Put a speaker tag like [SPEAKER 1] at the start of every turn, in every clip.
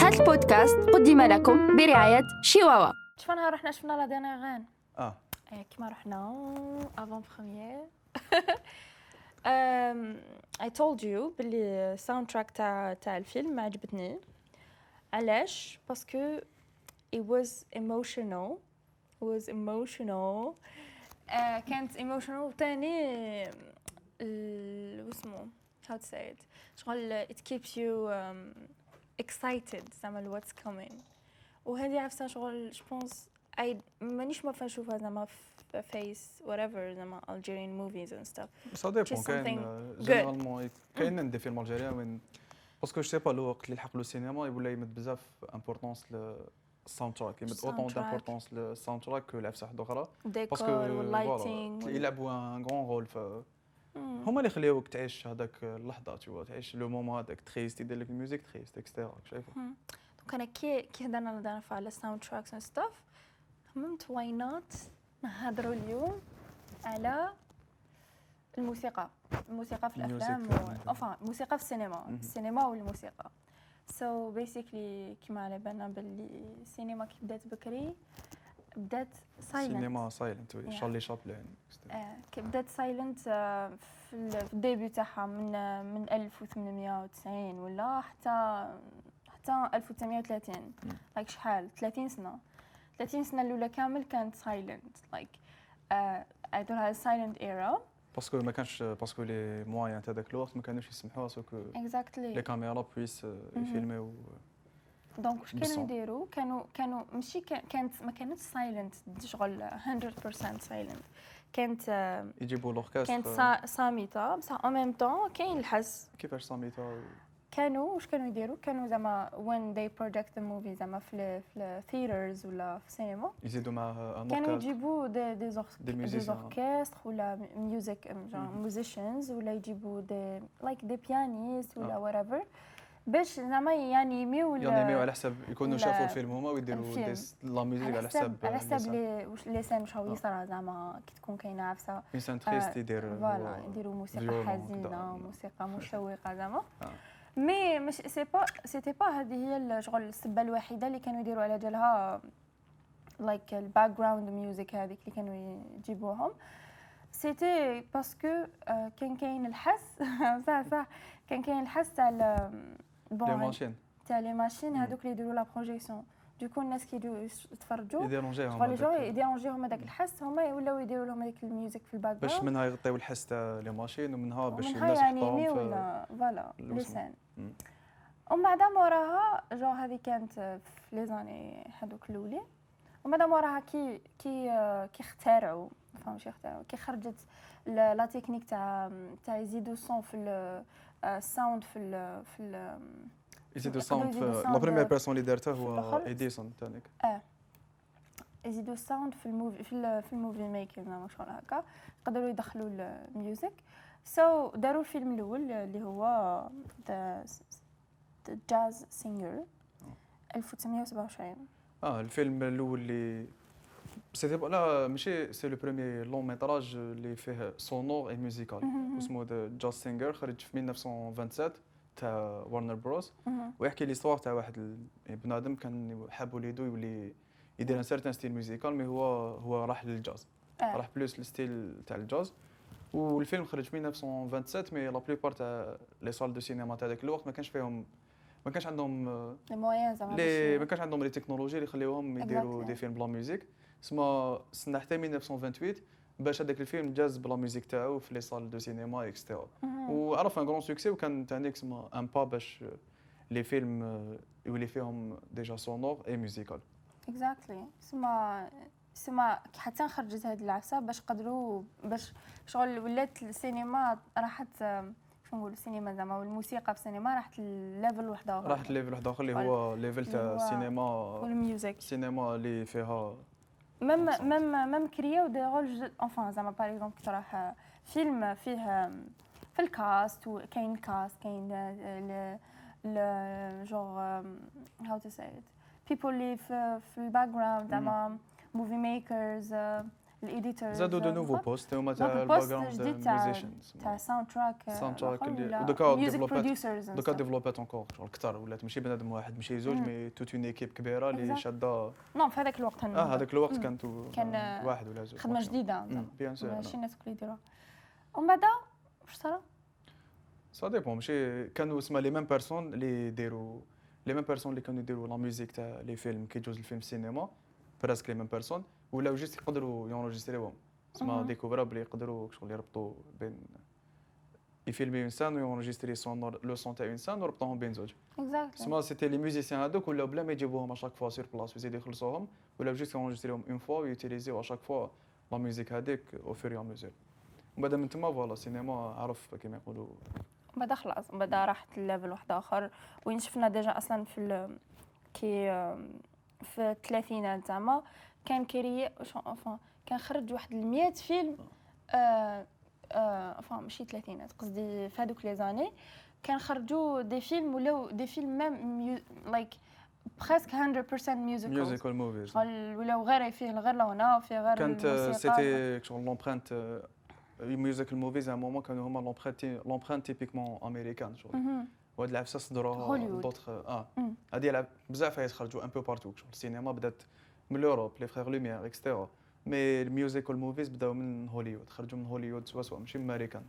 [SPEAKER 1] هذا البودكاست قدم لكم برعاية شيواوا
[SPEAKER 2] شفناها رحنا شفنا لا دينيغ غان
[SPEAKER 3] اه
[SPEAKER 2] إيه، كيما رحنا افون بروميير أم، I told you باللي الساوند تراك تاع تاع الفيلم ما عجبتني علاش باسكو it was emotional it was emotional آه، كانت emotional وتاني ال- واسمو how to say it شغل it keeps you um, excited زعما what's coming وهذه عفسه شغل je pense I مانيش ما نشوفها زعما في فيس whatever زعما Algerian movies and stuff
[SPEAKER 3] سا ديبون
[SPEAKER 2] Just
[SPEAKER 3] كاين
[SPEAKER 2] something good.
[SPEAKER 3] جينيرالمون كاين دي فيلم الجيريان وين باسكو جو سي با الوقت اللي لحق له السينما ولا يمد بزاف امبورطونس للساوند تراك يمد اوتون
[SPEAKER 2] Soundtrack.
[SPEAKER 3] دامبورطونس للساوند تراك كلعبسه واحده اخرى باسكو
[SPEAKER 2] ديكور واللايتينغ
[SPEAKER 3] فوالا، يلعبوا ان غون رول ف
[SPEAKER 2] hmm.
[SPEAKER 3] هما اللي يخليوك تعيش هذاك اللحظه تشوف تعيش لو مومون هذاك تخيست يدير لك الميوزيك تخيست اكسترا شايفه
[SPEAKER 2] دونك انا كي كي هضرنا لا دانفع على الساوند تراكس اند ستاف هممت واي نوت نهضروا اليوم على الموسيقى الموسيقى في الافلام
[SPEAKER 3] الموسيقى.
[SPEAKER 2] و- اوفا الموسيقى في السينما
[SPEAKER 3] مهم.
[SPEAKER 2] السينما والموسيقى سو بيسيكلي كيما على بالنا باللي السينما كي بدات بكري بدات سايلنت
[SPEAKER 3] سينما سايلنت
[SPEAKER 2] Yeah.
[SPEAKER 3] شارلي شابلين
[SPEAKER 2] آه، كي بدات سايلنت آه، في ال- في الديبي تاعها من آه، من 1890 ولا حتى حتى 1930
[SPEAKER 3] مم.
[SPEAKER 2] لايك شحال 30 سنه 30 سنه الاولى كامل كانت آه، سايلنت لايك عيطولها سايلنت ايرا
[SPEAKER 3] باسكو ما كانش باسكو لي موان تاع ذاك الوقت ما كانوش يسمحوها سوكو
[SPEAKER 2] Eh.
[SPEAKER 3] لي
[SPEAKER 2] اكزاكتلي
[SPEAKER 3] كاميرا بويس
[SPEAKER 2] Mm-hmm.
[SPEAKER 3] يفيلميو
[SPEAKER 2] دونك واش كانوا
[SPEAKER 3] بالصوت.
[SPEAKER 2] يديروا كانوا كانوا ماشي كا- كانت ما كانتش سايلنت شغل 100% سايلنت كانت آه،
[SPEAKER 3] يجيبوا لوركاستر
[SPEAKER 2] كانت سا- صامته بصح او ميم طون كاين الحس
[SPEAKER 3] كيفاش سميتها
[SPEAKER 2] كانوا واش كانوا يديروا كانوا زعما when they project the movie زعما في ال في ال theaters ولا في السينما
[SPEAKER 3] يزيدوا معها ان
[SPEAKER 2] كانوا
[SPEAKER 3] اوركستر
[SPEAKER 2] يجيبوا دي دي زورك-
[SPEAKER 3] Des
[SPEAKER 2] دي
[SPEAKER 3] musiciens.
[SPEAKER 2] زوركستر ولا ميوزيك
[SPEAKER 3] Mhm.
[SPEAKER 2] ميوزيشنز ولا يجيبوا دي لايك دي بيانيست ولا
[SPEAKER 3] آه.
[SPEAKER 2] whatever باش زعما يعني يميو ال-
[SPEAKER 3] يعني ميو على حسب يكونوا
[SPEAKER 2] ولا-
[SPEAKER 3] شافوا الفيلم هما ويديروا
[SPEAKER 2] الفيلم.
[SPEAKER 3] ديس- لا ميوزيك
[SPEAKER 2] على حساب
[SPEAKER 3] euh,
[SPEAKER 2] على حساب
[SPEAKER 3] لسان.
[SPEAKER 2] لي- واش لي سان واش راهو
[SPEAKER 3] آه.
[SPEAKER 2] يصرى زعما كي تكون كاينه عفسه
[SPEAKER 3] انسان تريست
[SPEAKER 2] Euh,
[SPEAKER 3] يدير
[SPEAKER 2] آه، فوالا
[SPEAKER 3] هو-
[SPEAKER 2] يديروا موسيقى
[SPEAKER 3] violent
[SPEAKER 2] حزينه
[SPEAKER 3] كدا.
[SPEAKER 2] موسيقى مشوقه زعما
[SPEAKER 3] آه.
[SPEAKER 2] مي مش سي با سيتي با هذه هي ال- شغل السبه الوحيده اللي كانوا يديروا على جالها لايك الباك جراوند ميوزك هذيك اللي كانوا يجيبوهم سيتي باسكو آه، كان كاين الحس صح صح كان كاين الحس تاع ال-
[SPEAKER 3] لي
[SPEAKER 2] بون
[SPEAKER 3] ماشين
[SPEAKER 2] تاع لي ماشين
[SPEAKER 3] مم.
[SPEAKER 2] هذوك اللي يديروا لا بروجيكسيون دوكو الناس كي يجوا يتفرجوا
[SPEAKER 3] يديرونجيهم
[SPEAKER 2] شغل لي جون
[SPEAKER 3] هذاك.
[SPEAKER 2] يديرونجيهم هذاك الحس هما يولاو يديروا لهم هذيك الميوزك في الباك
[SPEAKER 3] باش
[SPEAKER 2] جراوند
[SPEAKER 3] منها يغطيو الحس تاع لي ماشين ومنها باش
[SPEAKER 2] ومنها
[SPEAKER 3] الناس
[SPEAKER 2] يعني
[SPEAKER 3] يحطوهم
[SPEAKER 2] مي
[SPEAKER 3] في
[SPEAKER 2] ولا فوالا
[SPEAKER 3] الوسم.
[SPEAKER 2] لسان
[SPEAKER 3] مم.
[SPEAKER 2] ومن بعد موراها جو هذه كانت في لي زاني هذوك الاولين ومن بعد موراها كي كي كي اخترعوا فهم شي اخترعوا كي خرجت ل- لا تكنيك تاع تاع يزيدوا الصون في ال- الساوند في ال في ال
[SPEAKER 3] يزيدوا
[SPEAKER 2] يقدروا
[SPEAKER 3] ساوند في
[SPEAKER 2] يزيدوا
[SPEAKER 3] لا بريمير
[SPEAKER 2] sound
[SPEAKER 3] بيرسون اللي دارته هو
[SPEAKER 2] الآخر.
[SPEAKER 3] اديسون تاعك
[SPEAKER 2] يزيدوا الساوند في الموفي في, ال- في الموفي ميكر زعما شغل هكا يقدروا يدخلوا الميوزك سو so, داروا الفيلم الاول اللي هو ذا جاز سينجر 1927
[SPEAKER 3] اه الفيلم الاول اللي سيتي با- لا ماشي سي لو بروميي لون ميتراج اللي فيه سونور اي ميوزيكال اسمه ذا جاز سينجر خرج في 1927 تاع وارنر بروس
[SPEAKER 2] مهم.
[SPEAKER 3] ويحكي ليستوار تاع واحد ال- بنادم كان حابو ليدو يولي يدير ان سيرتان ستيل ميوزيكال مي هو هو راح للجاز
[SPEAKER 2] آه.
[SPEAKER 3] راح بلوس الستيل تاع الجاز والفيلم خرج في 1927 مي لا بليبار تاع لي سال دو سينما تاع ذاك الوقت ما كانش فيهم ما كانش عندهم آه،
[SPEAKER 2] لي موان زعما
[SPEAKER 3] لي ما
[SPEAKER 2] باش-
[SPEAKER 3] كانش عندهم لي تكنولوجي اللي يخليوهم يديروا
[SPEAKER 2] Exactly.
[SPEAKER 3] دي فيلم بلا ميوزيك سما سنا حتى 1928 باش هذاك الفيلم جاز بلا ميوزيك تاعو في لي سال دو سينما اكسترا
[SPEAKER 2] مهم.
[SPEAKER 3] وعرف ان كرون سوكسي وكان تانيك سما ان با باش لي فيلم آه، يولي فيهم ديجا سونور اي ميوزيكال
[SPEAKER 2] اكزاكتلي سما سما حتى خرجت هاد العفسه باش قدروا باش شغل ولات السينما راحت آم، شنو نقولوا السينما زعما والموسيقى في السينما راحت ليفل وحده أخرى.
[SPEAKER 3] راحت ليفل واحد اخر اللي
[SPEAKER 2] قال-
[SPEAKER 3] هو ليفل
[SPEAKER 2] اللي
[SPEAKER 3] تاع
[SPEAKER 2] هو-
[SPEAKER 3] سينما
[SPEAKER 2] والميوزك
[SPEAKER 3] سينما اللي فيها
[SPEAKER 2] ميم
[SPEAKER 3] Ensemble.
[SPEAKER 2] ميم ميم كرياو دي رول جدد انفان زعما باغ اكزومبل كي تروح فيلم فيه آم، في الكاست وكاين كاست كاين ال ال جوغ هاو euh, تو سي ات بيبول اللي في في الباك جراوند زعما موفي ميكرز الايديتورز
[SPEAKER 3] زادوا دو نوفو بوست هما تاع
[SPEAKER 2] دونك
[SPEAKER 3] الباك
[SPEAKER 2] البوست
[SPEAKER 3] جراوند
[SPEAKER 2] الجديد تاع-
[SPEAKER 3] ميوزيشنز
[SPEAKER 2] تاع ساوند تراك
[SPEAKER 3] Soundtrack اللي- ودوكا
[SPEAKER 2] ودوكا ميوزك
[SPEAKER 3] ديفلوبات.
[SPEAKER 2] بروديوسرز
[SPEAKER 3] دوكا ديفلوبات اونكور شغل كثر ولات ماشي بنادم واحد ماشي زوج
[SPEAKER 2] مم.
[SPEAKER 3] مي توت اون ايكيب كبيره اللي
[SPEAKER 2] Exact.
[SPEAKER 3] شاده اه
[SPEAKER 2] نعم في هذاك الوقت هن-
[SPEAKER 3] هذاك الوقت
[SPEAKER 2] مم.
[SPEAKER 3] كانت و-
[SPEAKER 2] كان، آه،
[SPEAKER 3] واحد ولا زوج
[SPEAKER 2] خدمه جديده زعما.
[SPEAKER 3] بيان سور
[SPEAKER 2] ماشي الناس الكل يديروها ومن بعد واش صرا
[SPEAKER 3] سا ديبون ماشي كانوا سما لي ميم بيرسون اللي يديروا لي ميم بيرسون اللي كانوا يديروا لا ميوزيك تاع لي فيلم كي يجوز الفيلم سينما براسك لي ميم بيرسون ولاو جيست يقدروا يونجستريوهم سما
[SPEAKER 2] مهم.
[SPEAKER 3] ديكوفرا بلي يقدروا شغل يربطوا بين يفيلمي اون سان ويونجستري سون لو سون تاع اون سان وربطوهم بين زوج
[SPEAKER 2] اكزاكتلي
[SPEAKER 3] سما سيتي لي ميوزيسيان هذوك ولاو بلا ما يجيبوهم اشاك فوا سور بلاص ويزيدوا يخلصوهم ولاو جيست يونجستريوهم اون فوا ويوتيليزيو اشاك فوا لا ميوزيك هذيك او فور يا ميوزيك ومن بعد من تما فوالا سينما عرف كيما يقولوا
[SPEAKER 2] من بعد خلاص من بعد راحت لليفل واحد اخر وين شفنا ديجا اصلا في ال- كي في الثلاثينات زعما كان كيري شو- enfin كان خرج واحد 100 فيلم آه، آه، enfin ماشي ثلاثينات قصدي في هذوك لي زاني كان خرجوا دي فيلم ولاو دي فيلم ميم لايك بريسك 100% ميوزيكال
[SPEAKER 3] ميوزيكال موفيز
[SPEAKER 2] شغل ولاو غير فيه غير الغناء وفيه غير
[SPEAKER 3] كانت آه،
[SPEAKER 2] الموسيقى.
[SPEAKER 3] سيتي شغل لومبرانت ميوزيك الموفيز ان مومون كانوا هما لومبرانت لومبرانت تيبيكمون امريكان شغل
[SPEAKER 2] مهم.
[SPEAKER 3] وهاد العفسه صدروها
[SPEAKER 2] هوليوود.
[SPEAKER 3] دوطخ اه
[SPEAKER 2] مم.
[SPEAKER 3] هادي لعب بزاف عيات خرجوا ان بو بارتو شغل السينما بدات من لوروب لي فخيغ لوميير اكسترا مي الميوزيك والموفيز بداو من هوليوود خرجوا من هوليوود سوا سوا ماشي من امريكان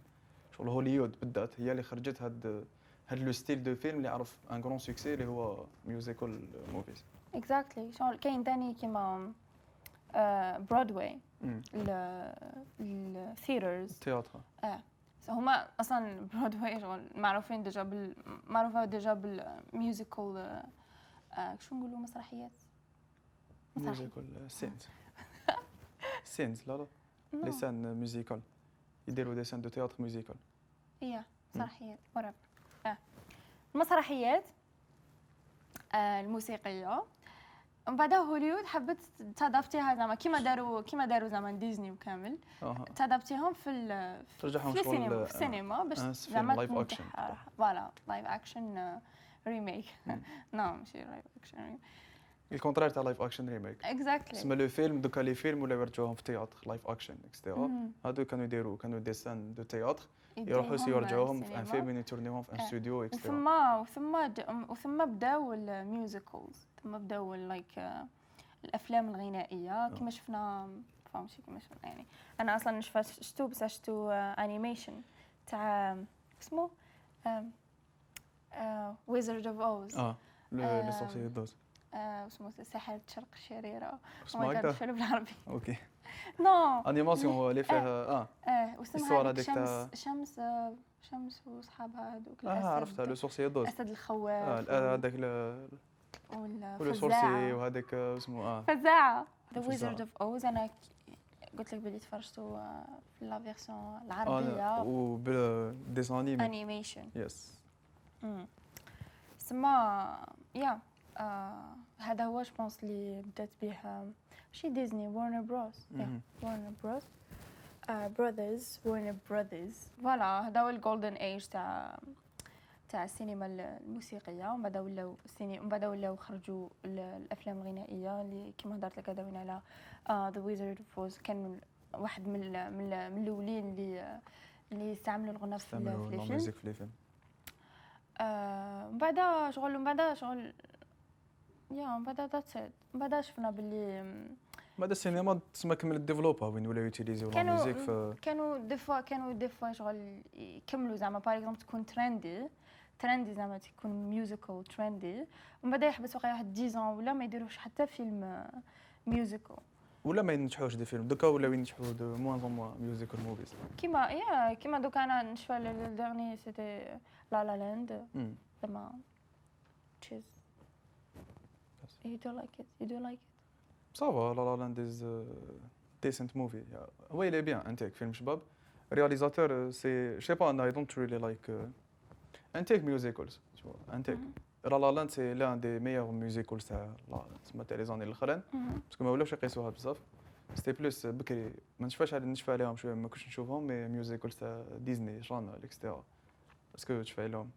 [SPEAKER 3] شغل هوليوود بدات هي اللي خرجت هاد هاد لو ستيل دو فيلم اللي عرف ان كرون سوكسي اللي هو ميوزيكال موفيز
[SPEAKER 2] اكزاكتلي شغل كاين تاني كيما آه، برودواي الثيترز
[SPEAKER 3] تياتر
[SPEAKER 2] هما اصلا برودواي شغل معروفين ديجا بال معروفه ديجا بالميوزيكال آه، آه، شو نقولوا مسرحيات مسرحي.
[SPEAKER 3] ميوزيكال سينز سينز لا لا
[SPEAKER 2] نو،
[SPEAKER 3] لي سان ميوزيكال يديروا دي سان دو تياتر ميوزيكال
[SPEAKER 2] هي مسرحيات ورا اه المسرحيات آه، الموسيقيه من بعدها هوليوود حبت تضافتيها زعما كيما داروا كيما داروا زعما ديزني وكامل
[SPEAKER 3] اها
[SPEAKER 2] تضبطيهم في ال
[SPEAKER 3] ترجعهم
[SPEAKER 2] في
[SPEAKER 3] شغل-
[SPEAKER 2] السينما في السينما
[SPEAKER 3] آه.
[SPEAKER 2] باش
[SPEAKER 3] آه، فيلم
[SPEAKER 2] زعما
[SPEAKER 3] live action.
[SPEAKER 2] تنجح راح- فوالا لايف اكشن ريميك نو آه، نعم، ماشي لايف اكشن
[SPEAKER 3] الكونترير تاع لايف اكشن ريميك
[SPEAKER 2] اكزاكتلي
[SPEAKER 3] سما لو فيلم دوكا لي فيلم ولا يرجعوهم في تياتر لايف اكشن اكسترا
[SPEAKER 2] مهم.
[SPEAKER 3] هادو كانوا يديروا كانوا دي سان دو تياتر يروحوا سي
[SPEAKER 2] يديهم
[SPEAKER 3] يرجعوهم في ان
[SPEAKER 2] السينما.
[SPEAKER 3] فيلم يتورنيوهم في ان
[SPEAKER 2] آه.
[SPEAKER 3] ستوديو اكسترا
[SPEAKER 2] وثم وثم د- وثم بداو الميوزيكلز ثم بداو آه، لايك الافلام الغنائيه
[SPEAKER 3] آه.
[SPEAKER 2] كما شفنا فهمتي كما شفنا يعني انا اصلا شفت شفتو بس شفتو انيميشن تاع اسمه آه، ويزرد اوف اوز
[SPEAKER 3] اه
[SPEAKER 2] آه.
[SPEAKER 3] لي سورسي دوز
[SPEAKER 2] آه، وسمو ساحر الشرق الشريرة
[SPEAKER 3] اسمها
[SPEAKER 2] وما
[SPEAKER 3] هكذا
[SPEAKER 2] قالش شنو بالعربي
[SPEAKER 3] اوكي
[SPEAKER 2] نو
[SPEAKER 3] انيماسيون هو اللي فيها اه
[SPEAKER 2] اه واسمها
[SPEAKER 3] الصورة
[SPEAKER 2] هذيك
[SPEAKER 3] هذيك
[SPEAKER 2] شمس
[SPEAKER 3] تاع-
[SPEAKER 2] شمس آه، شمس وصحابها هذوك
[SPEAKER 3] اه عرفتها لو
[SPEAKER 2] الأسد-
[SPEAKER 3] سورسي دوز
[SPEAKER 2] الاسد
[SPEAKER 3] آه،
[SPEAKER 2] الخواف
[SPEAKER 3] الآن هذاك ال- ولو سورسي
[SPEAKER 2] والفزاعة
[SPEAKER 3] وهذاك آه، اسمه اه
[SPEAKER 2] فزاعة ذا
[SPEAKER 3] الفزاعة.
[SPEAKER 2] ويزرد اوف اوز انا ك- قلت لك بلي تفرجتو آه، في لا فيرسيون
[SPEAKER 3] آه، انا
[SPEAKER 2] العربية
[SPEAKER 3] وبالديسان انيمي
[SPEAKER 2] انيميشن
[SPEAKER 3] يس
[SPEAKER 2] سما يا آه، هذا هو جو بونس اللي بدات به آه، ماشي ديزني ورنر بروس يا.
[SPEAKER 3] مهم.
[SPEAKER 2] Warner Bros. Uh, brothers, Warner Brothers. فوالا هذا هو الجولدن ايج تاع تاع السينما ال- الموسيقيه ومن بعد ولاو السيني ومن بعد ولاو خرجوا ال- الافلام الغنائيه اللي كيما هضرت لك هذا وين على آه، ذا ويزرد فوز كان من واحد من ال- من ال- من الاولين اللي اللي استعملوا الغناء في ال-
[SPEAKER 3] استعملوا
[SPEAKER 2] في الفيلم
[SPEAKER 3] الميوزيك في لي فيلم
[SPEAKER 2] آه، من بعد شغل من بعد شغل يا من بعد ذاتس من بعد شفنا باللي م،
[SPEAKER 3] بعد السينما تسمى كمل ديفلوبا وين ولاو يوتيليزيو لا
[SPEAKER 2] كانوا-
[SPEAKER 3] ميوزيك في
[SPEAKER 2] كانوا دي فوا كانوا دي فوا شغل يكملوا زعما باغ اكزومبل تكون ترندي ترندي زعما تكون ميوزيكال ترندي ومن بعد يحبس واقع واحد 10 ولا ما يديروش حتى فيلم ميوزيكال
[SPEAKER 3] ولا ما ينجحوش دي فيلم دوكا ولاو ينجحوا دو موان زون موان ميوزيك موفيز
[SPEAKER 2] كيما يا كيما دوكا انا نشفى الدرني سيتي لا لا لاند زعما تشيز You do like it, you do like it.
[SPEAKER 3] صافا لا لا لاند از ديسنت موفي هو يلي بيان انتيك فيلم شباب رياليزاتور سي شي با انا اي دونت ريلي لايك انتيك ميوزيكلز انتيك
[SPEAKER 2] Mm-hmm.
[SPEAKER 3] لا لا لاند سي لان دي ميور ميوزيكلز تاع لا تسمى تاع لي زاني الاخرين
[SPEAKER 2] مهم.
[SPEAKER 3] باسكو ما ولاوش يقيسوها بزاف سيتي بلوس
[SPEAKER 2] euh,
[SPEAKER 3] بكري ما نشفاش على نشفى عليهم شويه ما كنتش نشوفهم مي ميوزيكل
[SPEAKER 2] euh,
[SPEAKER 3] تاع ديزني شانا اكسترا اسكو تشفى عليهم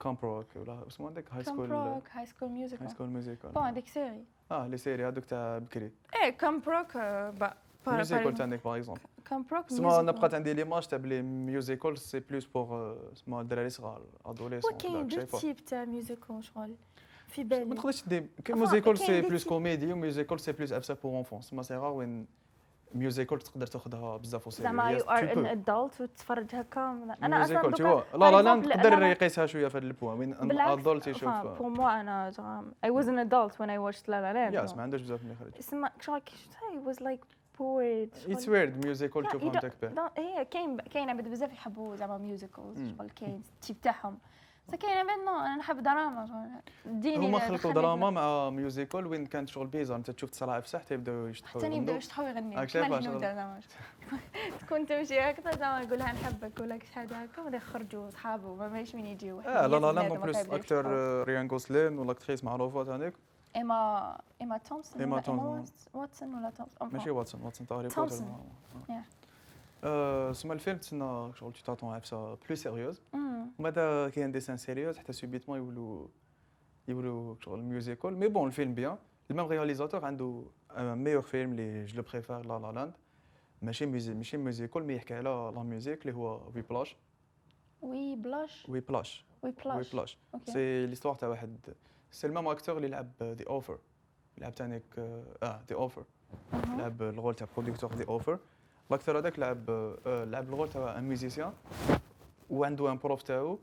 [SPEAKER 3] كامب روك
[SPEAKER 2] euh,
[SPEAKER 3] ولا اسمه عندك هاي
[SPEAKER 2] Camp
[SPEAKER 3] سكول
[SPEAKER 2] Rock, High School
[SPEAKER 3] هاي
[SPEAKER 2] Musical. Ah,
[SPEAKER 3] سكول ميوزيكال
[SPEAKER 2] بون هذيك سيري.
[SPEAKER 3] اه لي سيري هذوك تاع بكري
[SPEAKER 2] ايه كامب روك با Par- par
[SPEAKER 3] ميوزيكال
[SPEAKER 2] exemple.
[SPEAKER 3] تاعك باغ اكزومبل
[SPEAKER 2] كان بروك
[SPEAKER 3] سما انا بقات عندي ليماج تاع بلي ميوزيكال سي بلوس بور
[SPEAKER 2] euh,
[SPEAKER 3] سما الدراري صغار ادوليسون
[SPEAKER 2] وكاين دو تيب تاع ميوزيكال شغل في
[SPEAKER 3] ما
[SPEAKER 2] بالي
[SPEAKER 3] تقدرش دير كاين
[SPEAKER 2] Enfin,
[SPEAKER 3] ميوزيكال
[SPEAKER 2] كاين
[SPEAKER 3] سي
[SPEAKER 2] des
[SPEAKER 3] بلوس
[SPEAKER 2] types.
[SPEAKER 3] كوميدي وميوزيكال سي بلوس افسا بور اونفون سما سي غار وين ميوزيكال تقدر تاخذها بزاف وسيريو
[SPEAKER 2] زعما يو ار ان ادولت وتتفرج هكا انا اصلا
[SPEAKER 3] ميوزيكال
[SPEAKER 2] دوكا
[SPEAKER 3] تيوا لا لا لا
[SPEAKER 2] exemple, أنا
[SPEAKER 3] نقدر
[SPEAKER 2] ما-
[SPEAKER 3] يقيسها شويه في هذا البوان وين ان
[SPEAKER 2] بالعكس آه،
[SPEAKER 3] ادولت يشوف
[SPEAKER 2] بور موا انا زعما I was an adult when I watched La La Land
[SPEAKER 3] ياس ما عندوش بزاف ما يخرج
[SPEAKER 2] اسمع شغل كي شفتها I was like bored شغل-
[SPEAKER 3] اتس ويرد ميوزيكال
[SPEAKER 2] لا،
[SPEAKER 3] تشوف
[SPEAKER 2] إذا-
[SPEAKER 3] عندك به
[SPEAKER 2] لا، هي كاين كاين عباد بزاف يحبوا زعما ميوزيكلز
[SPEAKER 3] مم.
[SPEAKER 2] شغل كاين التيب تاعهم بصح كاين عباد نو انا نحب دراما شغل ديني
[SPEAKER 3] هما
[SPEAKER 2] لا-
[SPEAKER 3] خلطوا
[SPEAKER 2] دخلني
[SPEAKER 3] دراما
[SPEAKER 2] في-
[SPEAKER 3] مع ميوزيكال وين كانت شغل بيزار انت تشوف تصرع افسح تيبداو يشطحوا
[SPEAKER 2] حتى يبداو
[SPEAKER 3] يغنوا.
[SPEAKER 2] يشطحوا يغنيو
[SPEAKER 3] راك
[SPEAKER 2] كيما
[SPEAKER 3] شايفة
[SPEAKER 2] الهنود
[SPEAKER 3] شغل؟
[SPEAKER 2] زعما تكون تمشي هكذا زعما نقول لها نحبك ولا شي حاجه هكا ولا يخرجوا صحابه وما مايش وين يجيو
[SPEAKER 3] اه لا لا لا
[SPEAKER 2] حيوانات
[SPEAKER 3] اون بلوس
[SPEAKER 2] وما
[SPEAKER 3] اكتر
[SPEAKER 2] كيبداوش.
[SPEAKER 3] آه، ريان غوسلين ولا اكتريس معروفه تاعك
[SPEAKER 2] ايما ايما تومسون
[SPEAKER 3] إيما
[SPEAKER 2] ولا
[SPEAKER 3] تومسون.
[SPEAKER 2] واتس- واتسون ولا تومسون
[SPEAKER 3] ماشي واتسون واتسون تاع هاري
[SPEAKER 2] تومسون.
[SPEAKER 3] بوتر
[SPEAKER 2] Yeah.
[SPEAKER 3] سما آه. الفيلم تسنى شغل تي تاتون عفسه بلو سيريوز
[SPEAKER 2] مم.
[SPEAKER 3] وماذا كاين ديسان سيريوز حتى سوبيتمون يولوا يولوا شغل ميوزيكال مي بون الفيلم بيان المام رياليزاتور عنده ان ميور فيلم لي جو لو بريفير لا لا لاند ماشي ميوزي ماشي ميوزيكال مي يحكي على لا ميوزيك اللي هو وي بلاش
[SPEAKER 2] وي بلاش
[SPEAKER 3] وي بلاش
[SPEAKER 2] وي
[SPEAKER 3] وي
[SPEAKER 2] بلاش
[SPEAKER 3] بلاش
[SPEAKER 2] اوكي
[SPEAKER 3] سي ليستوار تاع واحد سي المام اكتور اللي لعب ذا اوفر لعب تانيك اه ذا اوفر
[SPEAKER 2] مهم.
[SPEAKER 3] لعب الغول تاع بروديكتور دي اوفر لاكتور هذاك لعب آه، لعب الغول تاع ان ميوزيسيان وعنده ان بروف تاعو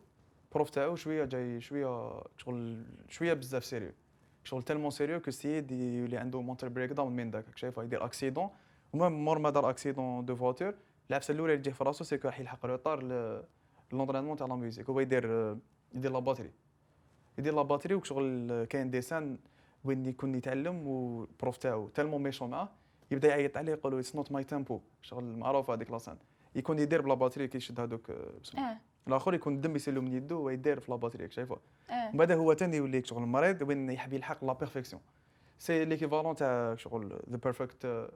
[SPEAKER 3] بروف تاعو شويه جاي شويه شغل شويه بزاف سيريو شغل تالمون سيريو كو السيد ي- اللي عنده مونتر بريك داون من داك شايفه يدير اكسيدون وما مور ما دار اكسيدون دو فواتور العفسه الاولى اللي تجي في راسو سي كو راح يلحق روطار ل- لونترينمون تاع لا ميوزيك هو يدير آه، يدير لا باتري يدير لا باتري وشغل آه، كاين ديسان وين يكون يتعلم والبروف تاعو تالمون ميشون معاه يبدا يعيط عليه يقول له اتس نوت ماي تيمبو شغل معروفه هذيك لاسان يكون يدير بلا باتري كي يشد هذوك آه، بسم-
[SPEAKER 2] اه
[SPEAKER 3] الاخر يكون الدم يسيلو من يده ويدير في لا باتري راك شايفه
[SPEAKER 2] اه
[SPEAKER 3] من بعد هو تاني يولي شغل مريض وين يحب يلحق لا بيرفكسيون سي ليكيفالون تاع شغل ذا بيرفكت ذا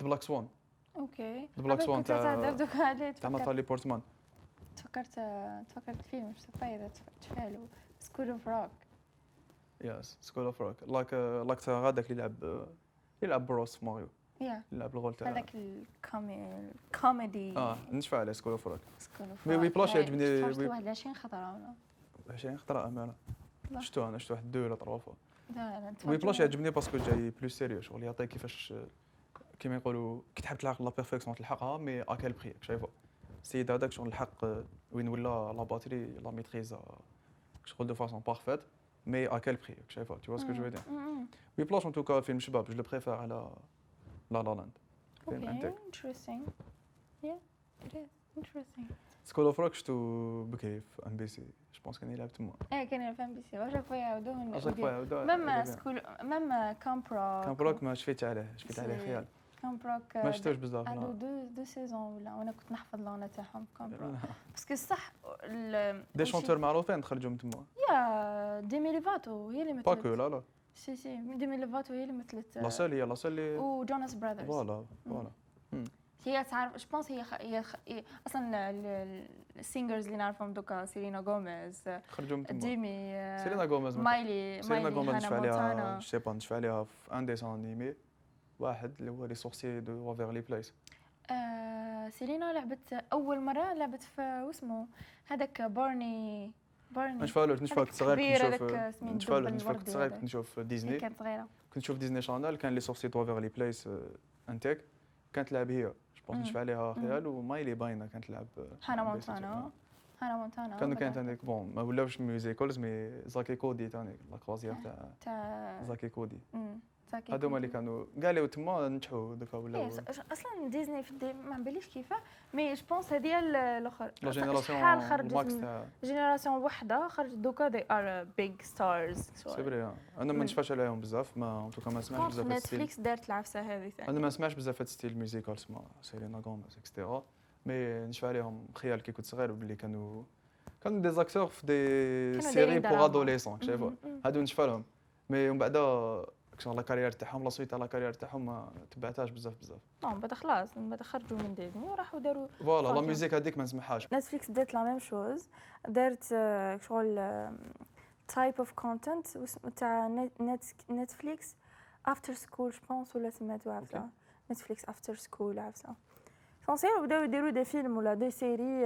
[SPEAKER 3] بلاك سوان
[SPEAKER 2] اوكي
[SPEAKER 3] The Black
[SPEAKER 2] عبالك
[SPEAKER 3] Swan
[SPEAKER 2] كنت
[SPEAKER 3] تاع-
[SPEAKER 2] تعذب دوكا عليه
[SPEAKER 3] تاع
[SPEAKER 2] تفكرت
[SPEAKER 3] ناتالي بورتمان
[SPEAKER 2] تفكرت تفكرت فيلم مش عارفة اذا تفكرت فعله سكول اوف روك
[SPEAKER 3] يس سكول اوف روك لاك لاك تاع غاداك اللي يلعب آه، يلعب بروس في ماريو
[SPEAKER 2] يا
[SPEAKER 3] يلعب الغول تاع
[SPEAKER 2] هذاك الكومي- الكوميدي
[SPEAKER 3] اه نشفى عليه سكول اوف روك
[SPEAKER 2] سكول اوف
[SPEAKER 3] مي وي بلاش يعجبني- وي-
[SPEAKER 2] واحد 20 خطره ولا
[SPEAKER 3] عشان خطره امانه
[SPEAKER 2] لا.
[SPEAKER 3] شفتو انا شفت واحد دو ولا ثلاثه فوا
[SPEAKER 2] لا لا
[SPEAKER 3] وي بلاش يعجبني باسكو جاي بلو سيريو شغل يعطيك كيفاش كيما يقولوا كي تحب تلحق لا بيرفكسيون تلحقها مي اكال بخي شايفه السيد هذاك شغل الحق euh، وين ولا لا باتري لا ميتريز euh، شغل دو فاسون بارفيت مي اكال بخي شايفه تو
[SPEAKER 2] Mm.
[SPEAKER 3] سكو جو فو دير وي بلاش ان توكا فيلم شباب جو لو بريفير على لا لا لاند فيلم
[SPEAKER 2] اوكي
[SPEAKER 3] عندك.
[SPEAKER 2] انترستينغ يا انترستينغ
[SPEAKER 3] سكول اوف روك شفتو بكري في ام بي سي جو بونس كان يلعب تما
[SPEAKER 2] ايه كان الفان بي سي واش فوا يعاودوه
[SPEAKER 3] اشاك فوا يعاودوها،
[SPEAKER 2] مما
[SPEAKER 3] يعاودوها.
[SPEAKER 2] سكول مما كامبروك
[SPEAKER 3] كان بروك ما شفيت عليه شفيت عليه
[SPEAKER 2] سي-
[SPEAKER 3] خيال
[SPEAKER 2] كامبروك
[SPEAKER 3] ما شفتوش بزاف
[SPEAKER 2] عنده
[SPEAKER 3] لا.
[SPEAKER 2] دو دو سيزون ولا وانا كنت نحفظ لونا تاعهم
[SPEAKER 3] Eh
[SPEAKER 2] كامبروك باسكو صح ال-
[SPEAKER 3] دي
[SPEAKER 2] وشي-
[SPEAKER 3] شونتور معروفين خرجوا من تما
[SPEAKER 2] يا ديمي ليفاتو هي اللي
[SPEAKER 3] با كو
[SPEAKER 2] مثلت
[SPEAKER 3] لا لا
[SPEAKER 2] سي سي ديمي ليفاتو هي اللي مثلت
[SPEAKER 3] لا سول هي لا سول
[SPEAKER 2] euh,
[SPEAKER 3] اللي
[SPEAKER 2] وجوناس براذرز
[SPEAKER 3] فوالا فوالا
[SPEAKER 2] هي تعرف جو بونس هي, خ... هي, خ... هي اصلا السينجرز اللي نعرفهم دوكا سيلينا غوميز
[SPEAKER 3] خرجوا من تما
[SPEAKER 2] ديمي آه،
[SPEAKER 3] سيلينا غوميز ما-
[SPEAKER 2] مايلي
[SPEAKER 3] سيلينا
[SPEAKER 2] مايلي
[SPEAKER 3] غوميز
[SPEAKER 2] هانا مونتانا
[SPEAKER 3] نشفى عليها جو با نشفى عليها في ان ديسان انيمي واحد اللي هو لي سورسي دو وافيرلي بلايس
[SPEAKER 2] آه سيلينا لعبت اول مره لعبت في واسمه هذاك بارني بارني
[SPEAKER 3] نشفى له نشفى
[SPEAKER 2] هذاك
[SPEAKER 3] كنت صغير
[SPEAKER 2] كبير،
[SPEAKER 3] كنت نشوف
[SPEAKER 2] هذاك سمين
[SPEAKER 3] نشفى له
[SPEAKER 2] الدب الوردي هذاك.
[SPEAKER 3] نشفى كنت صغير كنت نشوف
[SPEAKER 2] هي
[SPEAKER 3] ديزني
[SPEAKER 2] كانت صغيره
[SPEAKER 3] كنت نشوف ديزني شانل كان لي سورسي دو وافيرلي بلايس انتيك آه، كانت تلعب هي جو بونس
[SPEAKER 2] مم.
[SPEAKER 3] نشفى عليها
[SPEAKER 2] مم.
[SPEAKER 3] خيال ومايلي باينه كانت تلعب
[SPEAKER 2] هانا مونتانا آه، هانا مونتانا
[SPEAKER 3] كانوا كانت
[SPEAKER 2] بدأت
[SPEAKER 3] عندك بون ما ولاوش ميوزيكولز مي زاكي كودي تاني لا كروزيير تاع
[SPEAKER 2] تاع
[SPEAKER 3] زاكي كودي
[SPEAKER 2] مم، آه. زاكي
[SPEAKER 3] هادوما اللي
[SPEAKER 2] كوكو.
[SPEAKER 3] كانوا كاع اللي تما نجحوا دوكا ولاو
[SPEAKER 2] إيه، ص- اصلا ديزني في الدي... ما نباليش كيفاه مي جو بونس هذه الاخر
[SPEAKER 3] لا جينيراسيون
[SPEAKER 2] شحال خرجت
[SPEAKER 3] ماكس
[SPEAKER 2] من
[SPEAKER 3] تاع
[SPEAKER 2] جينيراسيون وحده خرجت دوكا دي ار بيج ستارز
[SPEAKER 3] سي فري انا آه. ما
[SPEAKER 2] مم.
[SPEAKER 3] نشفاش عليهم بزاف ما ان توكا ما نسمعش بزاف هاد الستيل
[SPEAKER 2] نتفليكس دارت العفسه هذه
[SPEAKER 3] انا
[SPEAKER 2] ثاني
[SPEAKER 3] ما نسمعش بزاف هاد الستيل ميوزيكال سما سيلينا غوميز اكسترا مي نشفى عليهم خيال كي كنت صغير بلي كانوا كانوا دي زاكتور في دي
[SPEAKER 2] كانوا Mm-hmm.
[SPEAKER 3] سيري
[SPEAKER 2] دايرين
[SPEAKER 3] بور
[SPEAKER 2] دراما.
[SPEAKER 3] ادوليسون شايفه
[SPEAKER 2] مم، مم.
[SPEAKER 3] هادو نشفى لهم مي ومن بعد شغل لا كارير تاعهم لا سويت على لا كارير تاعهم ما تبعتهاش بزاف بزاف
[SPEAKER 2] نعم بعد خلاص من بعد خرجوا من ديزني وراحوا داروا
[SPEAKER 3] فوالا لا
[SPEAKER 2] فهمت.
[SPEAKER 3] ميوزيك هذيك ما نسمعهاش
[SPEAKER 2] نتفليكس دارت لا ميم شوز دارت آه، شغل تايب اوف كونتنت تاع نت- نت- نتفليكس افتر سكول جو بونس ولا سميتو عفسه نتفليكس افتر سكول عفسه سونسيال بداو يديروا دي فيلم ولا دي سيري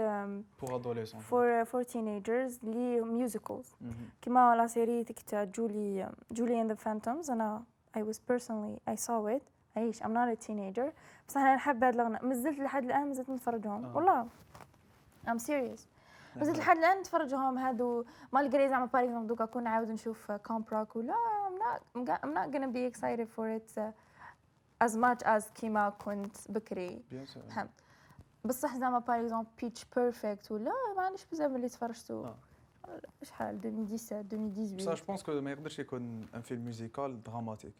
[SPEAKER 3] بوغ ادوليسون
[SPEAKER 2] فور فور تينيجرز آه، اللي ميوزيكلز
[SPEAKER 3] Mm-hmm.
[SPEAKER 2] كيما لا سيري تيك تاع جولي جولي اند ذا فانتومز انا اي واز بيرسونلي اي ساو ات عيش ام نوت تينيجر بصح انا نحب هاد الاغنيه مازلت لحد الان مازلت نتفرجهم
[SPEAKER 3] آه.
[SPEAKER 2] والله ام سيريس مازلت لحد الان نتفرجهم هادو مالغري زعما باغ اكزومبل دوكا كون نعاود نشوف كومبراك ولا I'm not I'm not gonna be excited for it uh, as much as كيما كنت بكري
[SPEAKER 3] بيان سور
[SPEAKER 2] فهمت بصح زعما باغ اكزومبل بيتش بيرفكت ولا ما عنديش بزاف اللي تفرجتو
[SPEAKER 3] آه.
[SPEAKER 2] شحال 2017
[SPEAKER 3] بصح
[SPEAKER 2] 2018
[SPEAKER 3] جو بونس كو ما يقدرش يكون ان فيلم موزيكال دراماتيك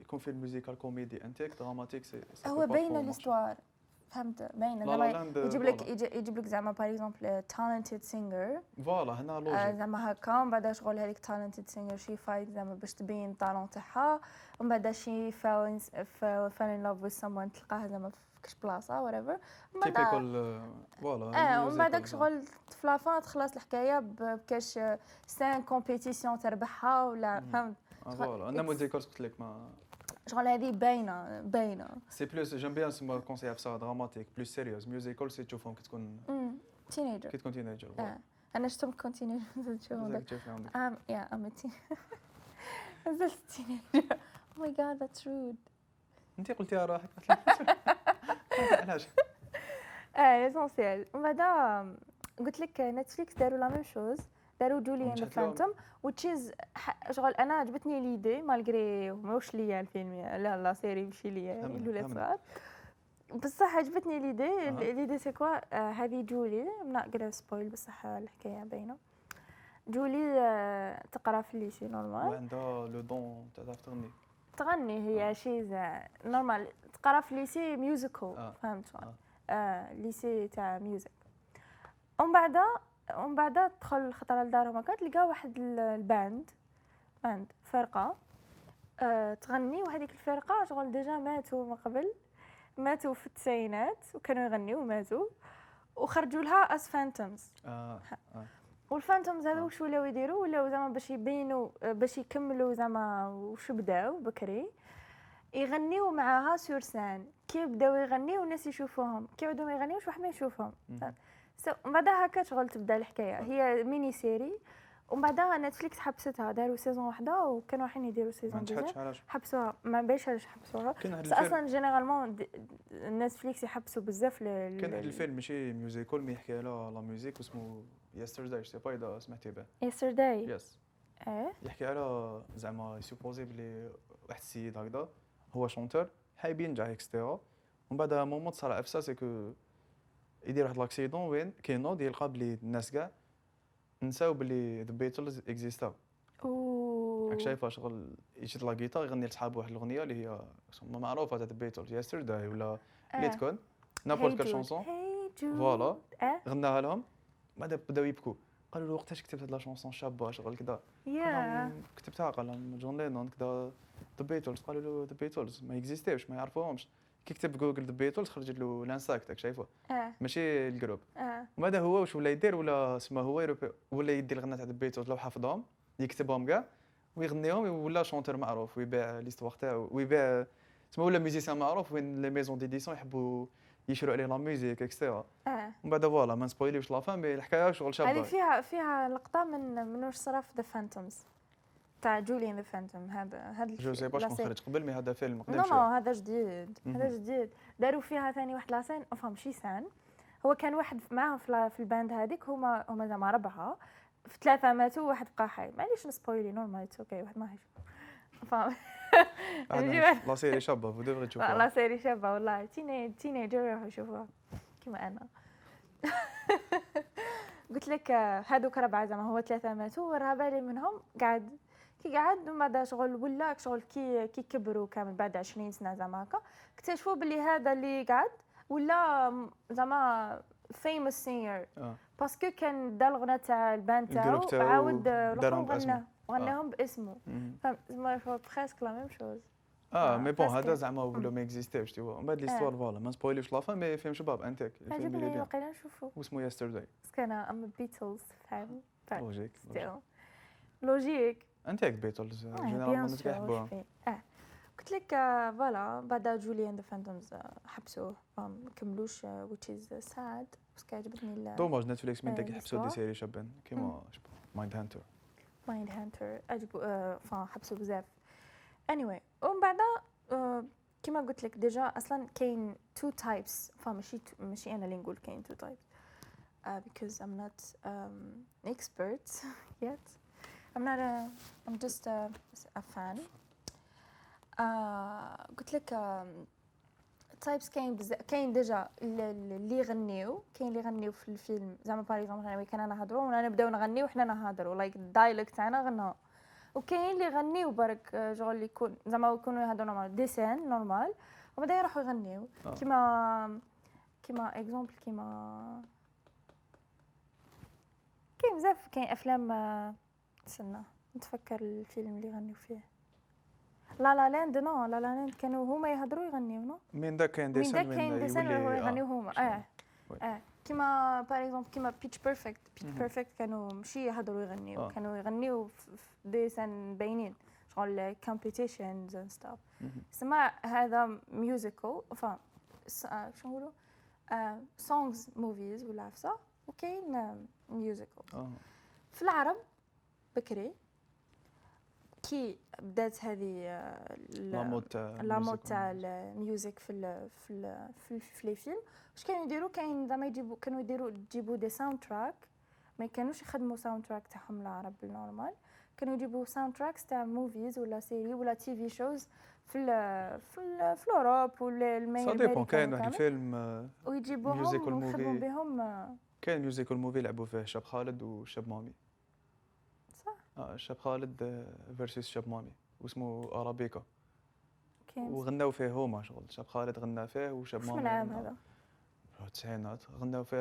[SPEAKER 3] يكون فيلم موزيكال كوميدي انتيك دراماتيك سي سي
[SPEAKER 2] أه، هو
[SPEAKER 3] peut pas
[SPEAKER 2] باينه
[SPEAKER 3] trop marcher.
[SPEAKER 2] الاستوار فهمت باينه
[SPEAKER 3] لا
[SPEAKER 2] زعما
[SPEAKER 3] لا لاند
[SPEAKER 2] يجيب لك يجي- يجيب لك زعما آه، باغ اكزومبل تالنتد سينجر
[SPEAKER 3] فوالا هنا لوجيك
[SPEAKER 2] آه، زعما هكا من بعد شغل هذيك تالنتد سينجر شي فايت زعما باش تبين التالون تاعها ومن بعد شي فال فال ان لاف وذ someone تلقاها زعما في كش بلاصه whatever ومن بعد
[SPEAKER 3] تيبيكال فوالا
[SPEAKER 2] اه ومن بعدك شغل في لافان تخلص الحكايه بكاش سان كومبيتيسيون تربحها ولا
[SPEAKER 3] مم.
[SPEAKER 2] فهمت
[SPEAKER 3] آه، فوالا انا
[SPEAKER 2] it's-
[SPEAKER 3] موزيكال قلت لك ما
[SPEAKER 2] شغل هذه باينه باينه
[SPEAKER 3] سي بلوس جيم بيان سما كونسي بصح دراماتيك بلوس سيريوز ميوزيكال سي تشوفهم كي تكون
[SPEAKER 2] تينيجر
[SPEAKER 3] كي تكون تينيجر
[SPEAKER 2] اه انا شفتهم كونتينيجر نشوفهم
[SPEAKER 3] زاك تشوف عندك
[SPEAKER 2] ام يا ام نزلت تينيجر او ماي جاد ذاتس رود
[SPEAKER 3] انت قلتيها راحك علاش
[SPEAKER 2] اه ليسونسيال ومن بعد قلت لك نتفليكس داروا لا ميم شوز داروا جولي اند
[SPEAKER 3] ونجحت لهم.
[SPEAKER 2] فانتوم وتشيز شغل انا عجبتني ليدي مالغري ماهوش ليا الفيلم لا لا سيري ماشي ليا
[SPEAKER 3] فهمنا،
[SPEAKER 2] الاولاد
[SPEAKER 3] فهمنا.
[SPEAKER 2] صغار بصح عجبتني ليدي
[SPEAKER 3] أها.
[SPEAKER 2] ليدي سي كوا آه، هذه جولي ام نوت غانا سبويل بصح الحكايه باينه جولي آه، تقرا في الليسي نورمال
[SPEAKER 3] وعندها لو دون تاع تعرف تغني
[SPEAKER 2] تغني
[SPEAKER 3] آه.
[SPEAKER 2] هي شي زع- نورمال تقرا في ليسي ميوزيكال
[SPEAKER 3] آه.
[SPEAKER 2] فهمت شغل
[SPEAKER 3] آه.
[SPEAKER 2] آه ليسي تاع ميوزك ومن بعد ومن بعد دخل خطره لدارهم هكا تلقى واحد ال- الباند باند فرقه آه تغني وهذيك الفرقه شغل ديجا ماتوا من قبل ماتوا في التسعينات وكانوا يغنيوا وماتوا وخرجوا لها اس فانتومز
[SPEAKER 3] اه
[SPEAKER 2] والفانتومز
[SPEAKER 3] آه.
[SPEAKER 2] هذو واش ولاو يديروا ولاو زعما باش يبينوا باش يكملوا زعما وش بداو بكري يغنيوا معاها سور سان كي بداو يغنيو الناس يشوفوهم كي بداو ما يغنيوش واحد ما يشوفهم
[SPEAKER 3] مهم.
[SPEAKER 2] سو من بعدها هكا شغل تبدا الحكايه هي ميني سيري ومن بعدها نتفليكس حبستها داروا سيزون واحده وكانوا رايحين يديروا
[SPEAKER 3] ما
[SPEAKER 2] سيزون دوزيام
[SPEAKER 3] نجحتش علاش
[SPEAKER 2] حبسوها ما بيش علاش حبسوها
[SPEAKER 3] كان هاد
[SPEAKER 2] بس
[SPEAKER 3] الفيلم-
[SPEAKER 2] اصلا جينيرالمون نتفليكس يحبسوا بزاف ل-
[SPEAKER 3] كان واحد الفيلم ماشي ميوزيكال مي يحكي على لا ميوزيك واسمه يسترداي سي با اذا سمعتي به
[SPEAKER 2] yesterday
[SPEAKER 3] يس
[SPEAKER 2] ايه
[SPEAKER 3] يحكي على زعما سوبوزي بلي واحد السيد هكذا هو شونتر حايب ينجح اكسترا ومن بعد مومون صرا افسا سي كو يدير واحد لاكسيدون وين كينوض يلقى بلي الناس كاع نساو بلي ذا بيتلز اكزيستاو راك شايفه شغل يشد لا جيتار يغني لصحابو واحد الاغنيه اللي هي شغل معروفه تاع ذا بيتلز يسترداي ولا
[SPEAKER 2] آه.
[SPEAKER 3] اللي تكون نابورت كال شونسون فوالا
[SPEAKER 2] اه
[SPEAKER 3] غناها لهم بعد بداو يبكوا قالوا له وقتاش كتبت هاد لا شونسون شابه شغل كذا
[SPEAKER 2] يا
[SPEAKER 3] قال لهم كتبتها قال لهم جون لينون كذا ذا بيتلز قالوا له ذا بيتلز ما يكزيستيوش ما يعرفوهمش كي كتب جوجل ذا بيتلز خرج له لانساك داك شايفه
[SPEAKER 2] اه
[SPEAKER 3] ماشي الجروب
[SPEAKER 2] اه
[SPEAKER 3] ماذا هو واش ولا يدير ولا سما هو يروبي- ولا يدي الغناء تاع ذا بيتلز لو حافظهم يكتبهم كاع ويغنيهم ولا شونتور معروف ويبيع ليستوار تاعو ويبيع سما ولا ميوزيسيان معروف وين لي ميزون ديديسيون يحبوا يشروا عليه لا ميوزيك اكسترا
[SPEAKER 2] اه
[SPEAKER 3] ومن بعد فوالا ما نسبويليوش لا فان مي الحكايه شغل
[SPEAKER 2] هذه
[SPEAKER 3] شابه
[SPEAKER 2] فيها فيها لقطه من من واش صرا في ذا فانتومز تاع جوليان ذا فانتوم هذا هذا
[SPEAKER 3] جو سي با شكون خرج قبل مي هذا فيلم
[SPEAKER 2] نو
[SPEAKER 3] قديم
[SPEAKER 2] نو
[SPEAKER 3] شويه
[SPEAKER 2] هذا جديد هذا
[SPEAKER 3] مهم.
[SPEAKER 2] جديد داروا فيها ثاني واحد لاسين اوف ماشي سان هو كان واحد معاهم في, لا- في الباند هذيك هما هما زعما ربعه في ثلاثه ماتوا وواحد بقى حي معليش نسبويلي نورمال اتس اوكي واحد ماهيش فاهم
[SPEAKER 3] Ah, عاد لا سيري شابه فو دوفري
[SPEAKER 2] والله
[SPEAKER 3] تشوفوها
[SPEAKER 2] سيري شابه والله تينيج تينيجر يروحوا يشوفوها كيما انا قلت لك آه، هادوك ربعه زعما هو ثلاثه ماتوا والرابع اللي منهم قعد كي قعد ومن بعد شغل ولا شغل كي كي كبروا كامل بعد 20 سنه زعما هكا اكتشفوا بلي هذا اللي قعد ولا م- زعما فيموس سينجر
[SPEAKER 3] آه.
[SPEAKER 2] باسكو كان دا الغنى تاع البان
[SPEAKER 3] الجروب
[SPEAKER 2] تاعو
[SPEAKER 3] تاعو
[SPEAKER 2] عاود آه،
[SPEAKER 3] دارهم
[SPEAKER 2] روحو
[SPEAKER 3] باسمه.
[SPEAKER 2] غناه غناهم باسمه
[SPEAKER 3] مم.
[SPEAKER 2] فهمت زعما بريسك لا ميم شوز
[SPEAKER 3] اه
[SPEAKER 2] آه،
[SPEAKER 3] مي بون
[SPEAKER 2] باسكو.
[SPEAKER 3] هذا زعما ولا ما اكزيستيوش تيوا من بعد ليستوار فوالا ما نسبويليوش لا فان مي فيلم شباب انتيك الفيلم اللي
[SPEAKER 2] عجبني
[SPEAKER 3] بيان
[SPEAKER 2] وقيلا نشوفو
[SPEAKER 3] واسمه يسترداي
[SPEAKER 2] باسكو انا ام بيتلز فاهم فاهم
[SPEAKER 3] لوجيك
[SPEAKER 2] still. لوجيك
[SPEAKER 3] انتيك بيتلز
[SPEAKER 2] اه بيان
[SPEAKER 3] جينيرالمون
[SPEAKER 2] سور
[SPEAKER 3] كيحبوها
[SPEAKER 2] اه قلت لك آه، فوالا بعد جولي اند فاندومز حبسوه ما كملوش um, euh, which is sad باسكو عجبتني ال
[SPEAKER 3] دوماج نتفليكس من
[SPEAKER 2] آه،
[SPEAKER 3] داك يحبسوا دي
[SPEAKER 2] نسمع.
[SPEAKER 3] سيري شابين كيما مايند هانتر
[SPEAKER 2] مايند هانتر عجبوا آه، فا حبسوا بزاف anyway euh, ومن بعد آه، كما قلت لك ديجا اصلا كاين تو تايبس فماشي ماشي انا اللي نقول كاين تو تايبس Euh, because I'm not um, expert yet I'm not a I'm just a, a fan Euh, آه، قلت لك تايبس كاين بزاف كاين ديجا ال- ال- اللي يغنيو كاين اللي يغنيو في الفيلم زعما باغ اكزومبل انا وكان انا نهضروا ولا نبداو نغنيو وحنا نهضروا لايك الدايلوج تاعنا غناو وكاين اللي يغنيو برك آه، شغل اللي يكون زعما يكونوا يهضروا نورمال ديسين نورمال وبعدا يروحوا يغنيو
[SPEAKER 3] آه.
[SPEAKER 2] كيما كيما اكزومبل كيما كاين بزاف كاين افلام آه، تسنى نتفكر الفيلم اللي غنيو فيه لا لا لاند نو لا لا لاند كانوا هما يهضروا يغنيو نو
[SPEAKER 3] من داك كاين
[SPEAKER 2] وين
[SPEAKER 3] ديسان
[SPEAKER 2] داك كاين ديسان
[SPEAKER 3] يولي-
[SPEAKER 2] هو
[SPEAKER 3] آه،
[SPEAKER 2] يغنيو هما
[SPEAKER 3] شنو؟
[SPEAKER 2] اه
[SPEAKER 3] وي.
[SPEAKER 2] اه كيما باغ اكزومبل كيما بيتش بيرفكت بيتش
[SPEAKER 3] مهم.
[SPEAKER 2] بيرفكت كانوا ماشي يهضروا يغنيو
[SPEAKER 3] آه.
[SPEAKER 2] كانوا يغنيو في في ديسان باينين شغل كومبيتيشنز اند ستاف
[SPEAKER 3] مهم.
[SPEAKER 2] سما هذا ميوزيكال ف آه، شنو نقولوا سونغز موفيز ولا عفسه وكاين ميوزيكال
[SPEAKER 3] آه.
[SPEAKER 2] في العرب بكري كي بدات هذه آه، ال-
[SPEAKER 3] لا مود تاع
[SPEAKER 2] لا
[SPEAKER 3] music
[SPEAKER 2] مود تاع
[SPEAKER 3] ولا-
[SPEAKER 2] الميوزك في ال في ال في, ال في لي فيلم واش كانوا يديروا كاين زعما يجيبوا كانوا يديروا يجيبوا دي ساوند تراك ما كانوش يخدموا ساوند تراك تاعهم العرب بالنورمال كانوا يجيبوا ساوند تراكس تاع موفيز ولا سيري ولا تي في شوز في ال في ال في الاوروب ولا المي-
[SPEAKER 3] سا ديبون
[SPEAKER 2] الامريكان
[SPEAKER 3] كاين واحد
[SPEAKER 2] وكامل.
[SPEAKER 3] الفيلم آه، musical
[SPEAKER 2] ويجيبوهم ويخدموا
[SPEAKER 3] movie.
[SPEAKER 2] بهم آه،
[SPEAKER 3] كاين ميوزيكال موفي لعبوا فيه شاب خالد وشاب مامي
[SPEAKER 2] صح
[SPEAKER 3] آه شاب خالد فيرسيس شاب مامي واسمه ارابيكا
[SPEAKER 2] كاين
[SPEAKER 3] وغناو فيه هما شغل شاب خالد غنى فيه وشاب
[SPEAKER 2] شوف
[SPEAKER 3] مامي
[SPEAKER 2] من عام
[SPEAKER 3] غنى.
[SPEAKER 2] هذا
[SPEAKER 3] التسعينات غناو فيه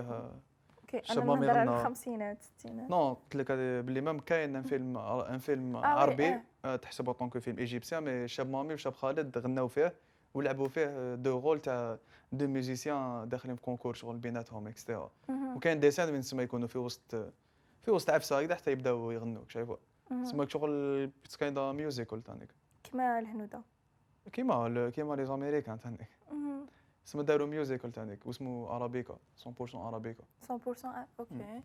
[SPEAKER 2] اوكي انا
[SPEAKER 3] الشمامي
[SPEAKER 2] نهضر على
[SPEAKER 3] غنى-
[SPEAKER 2] الخمسينات ستينات
[SPEAKER 3] نو قلت لك هذه بلي مام كاين ان فيلم ان فيلم
[SPEAKER 2] آه، وي،
[SPEAKER 3] عربي
[SPEAKER 2] آه.
[SPEAKER 3] آه، تحسبه طونكو فيلم ايجيبسيان مي شاب مامي وشاب خالد غناو فيه ولعبوا فيه دو رول تاع دو ميوزيسيان داخلين في كونكور شغل بيناتهم اكسترا
[SPEAKER 2] مهم.
[SPEAKER 3] وكاين ديسان وين تسمى يكونوا في وسط آه، في وسط عفسه هكذا حتى يبداو يغنوا شايفوا
[SPEAKER 2] مهم.
[SPEAKER 3] تسمى شغل كاين دا ميوزيكال تانيك
[SPEAKER 2] كيما الهنوده
[SPEAKER 3] كيما ال- كيما لي زاميريكان تانيك
[SPEAKER 2] مهم.
[SPEAKER 3] تسمى داروا ميوزيكال تانيك واسمه ارابيكا 100% ارابيكا
[SPEAKER 2] 100% آه،
[SPEAKER 3] Mm.
[SPEAKER 2] اوكي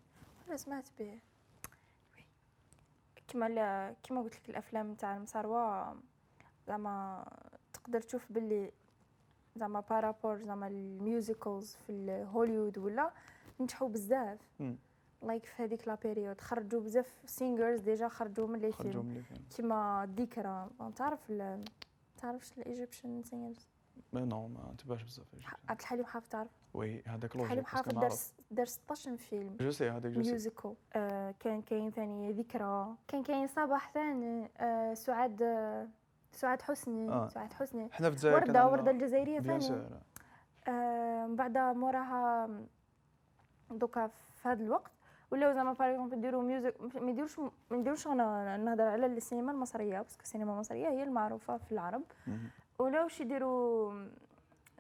[SPEAKER 2] انا سمعت به كما لا كما قلت لك الافلام تاع المسروه زعما تقدر تشوف باللي زعما بارابور زعما الميوزيكلز في ال- هوليوود ولا نجحوا بزاف
[SPEAKER 3] مم.
[SPEAKER 2] لايك في هذيك لا بيريود خرجوا بزاف سينجرز ديجا خرجوا من لي
[SPEAKER 3] خرجوا
[SPEAKER 2] فيلم
[SPEAKER 3] من لي فيلم
[SPEAKER 2] كيما الذكرى ما تعرف ال- تعرفش الايجيبشن سينجرز
[SPEAKER 3] مي نو ما نتبعش بزاف
[SPEAKER 2] عبد الحليم حافظ تعرف
[SPEAKER 3] وي هذاك
[SPEAKER 2] عبد الحليم
[SPEAKER 3] لوجيك
[SPEAKER 2] حافظ درس درس 16 فيلم
[SPEAKER 3] جو سي هذاك جو سي
[SPEAKER 2] ميوزيكال آه كان كاين ثاني ذكرى كان كاين صباح ثاني آه سعاد آه سعاد حسني
[SPEAKER 3] آه.
[SPEAKER 2] آه. سعاد حسني
[SPEAKER 3] حنا في الجزائر كان
[SPEAKER 2] وردة
[SPEAKER 3] عندنا-
[SPEAKER 2] وردة الجزائرية ثاني
[SPEAKER 3] بيان سور
[SPEAKER 2] آه من بعد موراها دوكا في هذا الوقت ولاو زعما باغ اكزومبل يديروا ميوزك ما يديروش ما يديروش غنى- نهضر على السينما المصرية باسكو السينما المصرية هي المعروفة في العرب
[SPEAKER 3] مهم.
[SPEAKER 2] ولاوش يديروا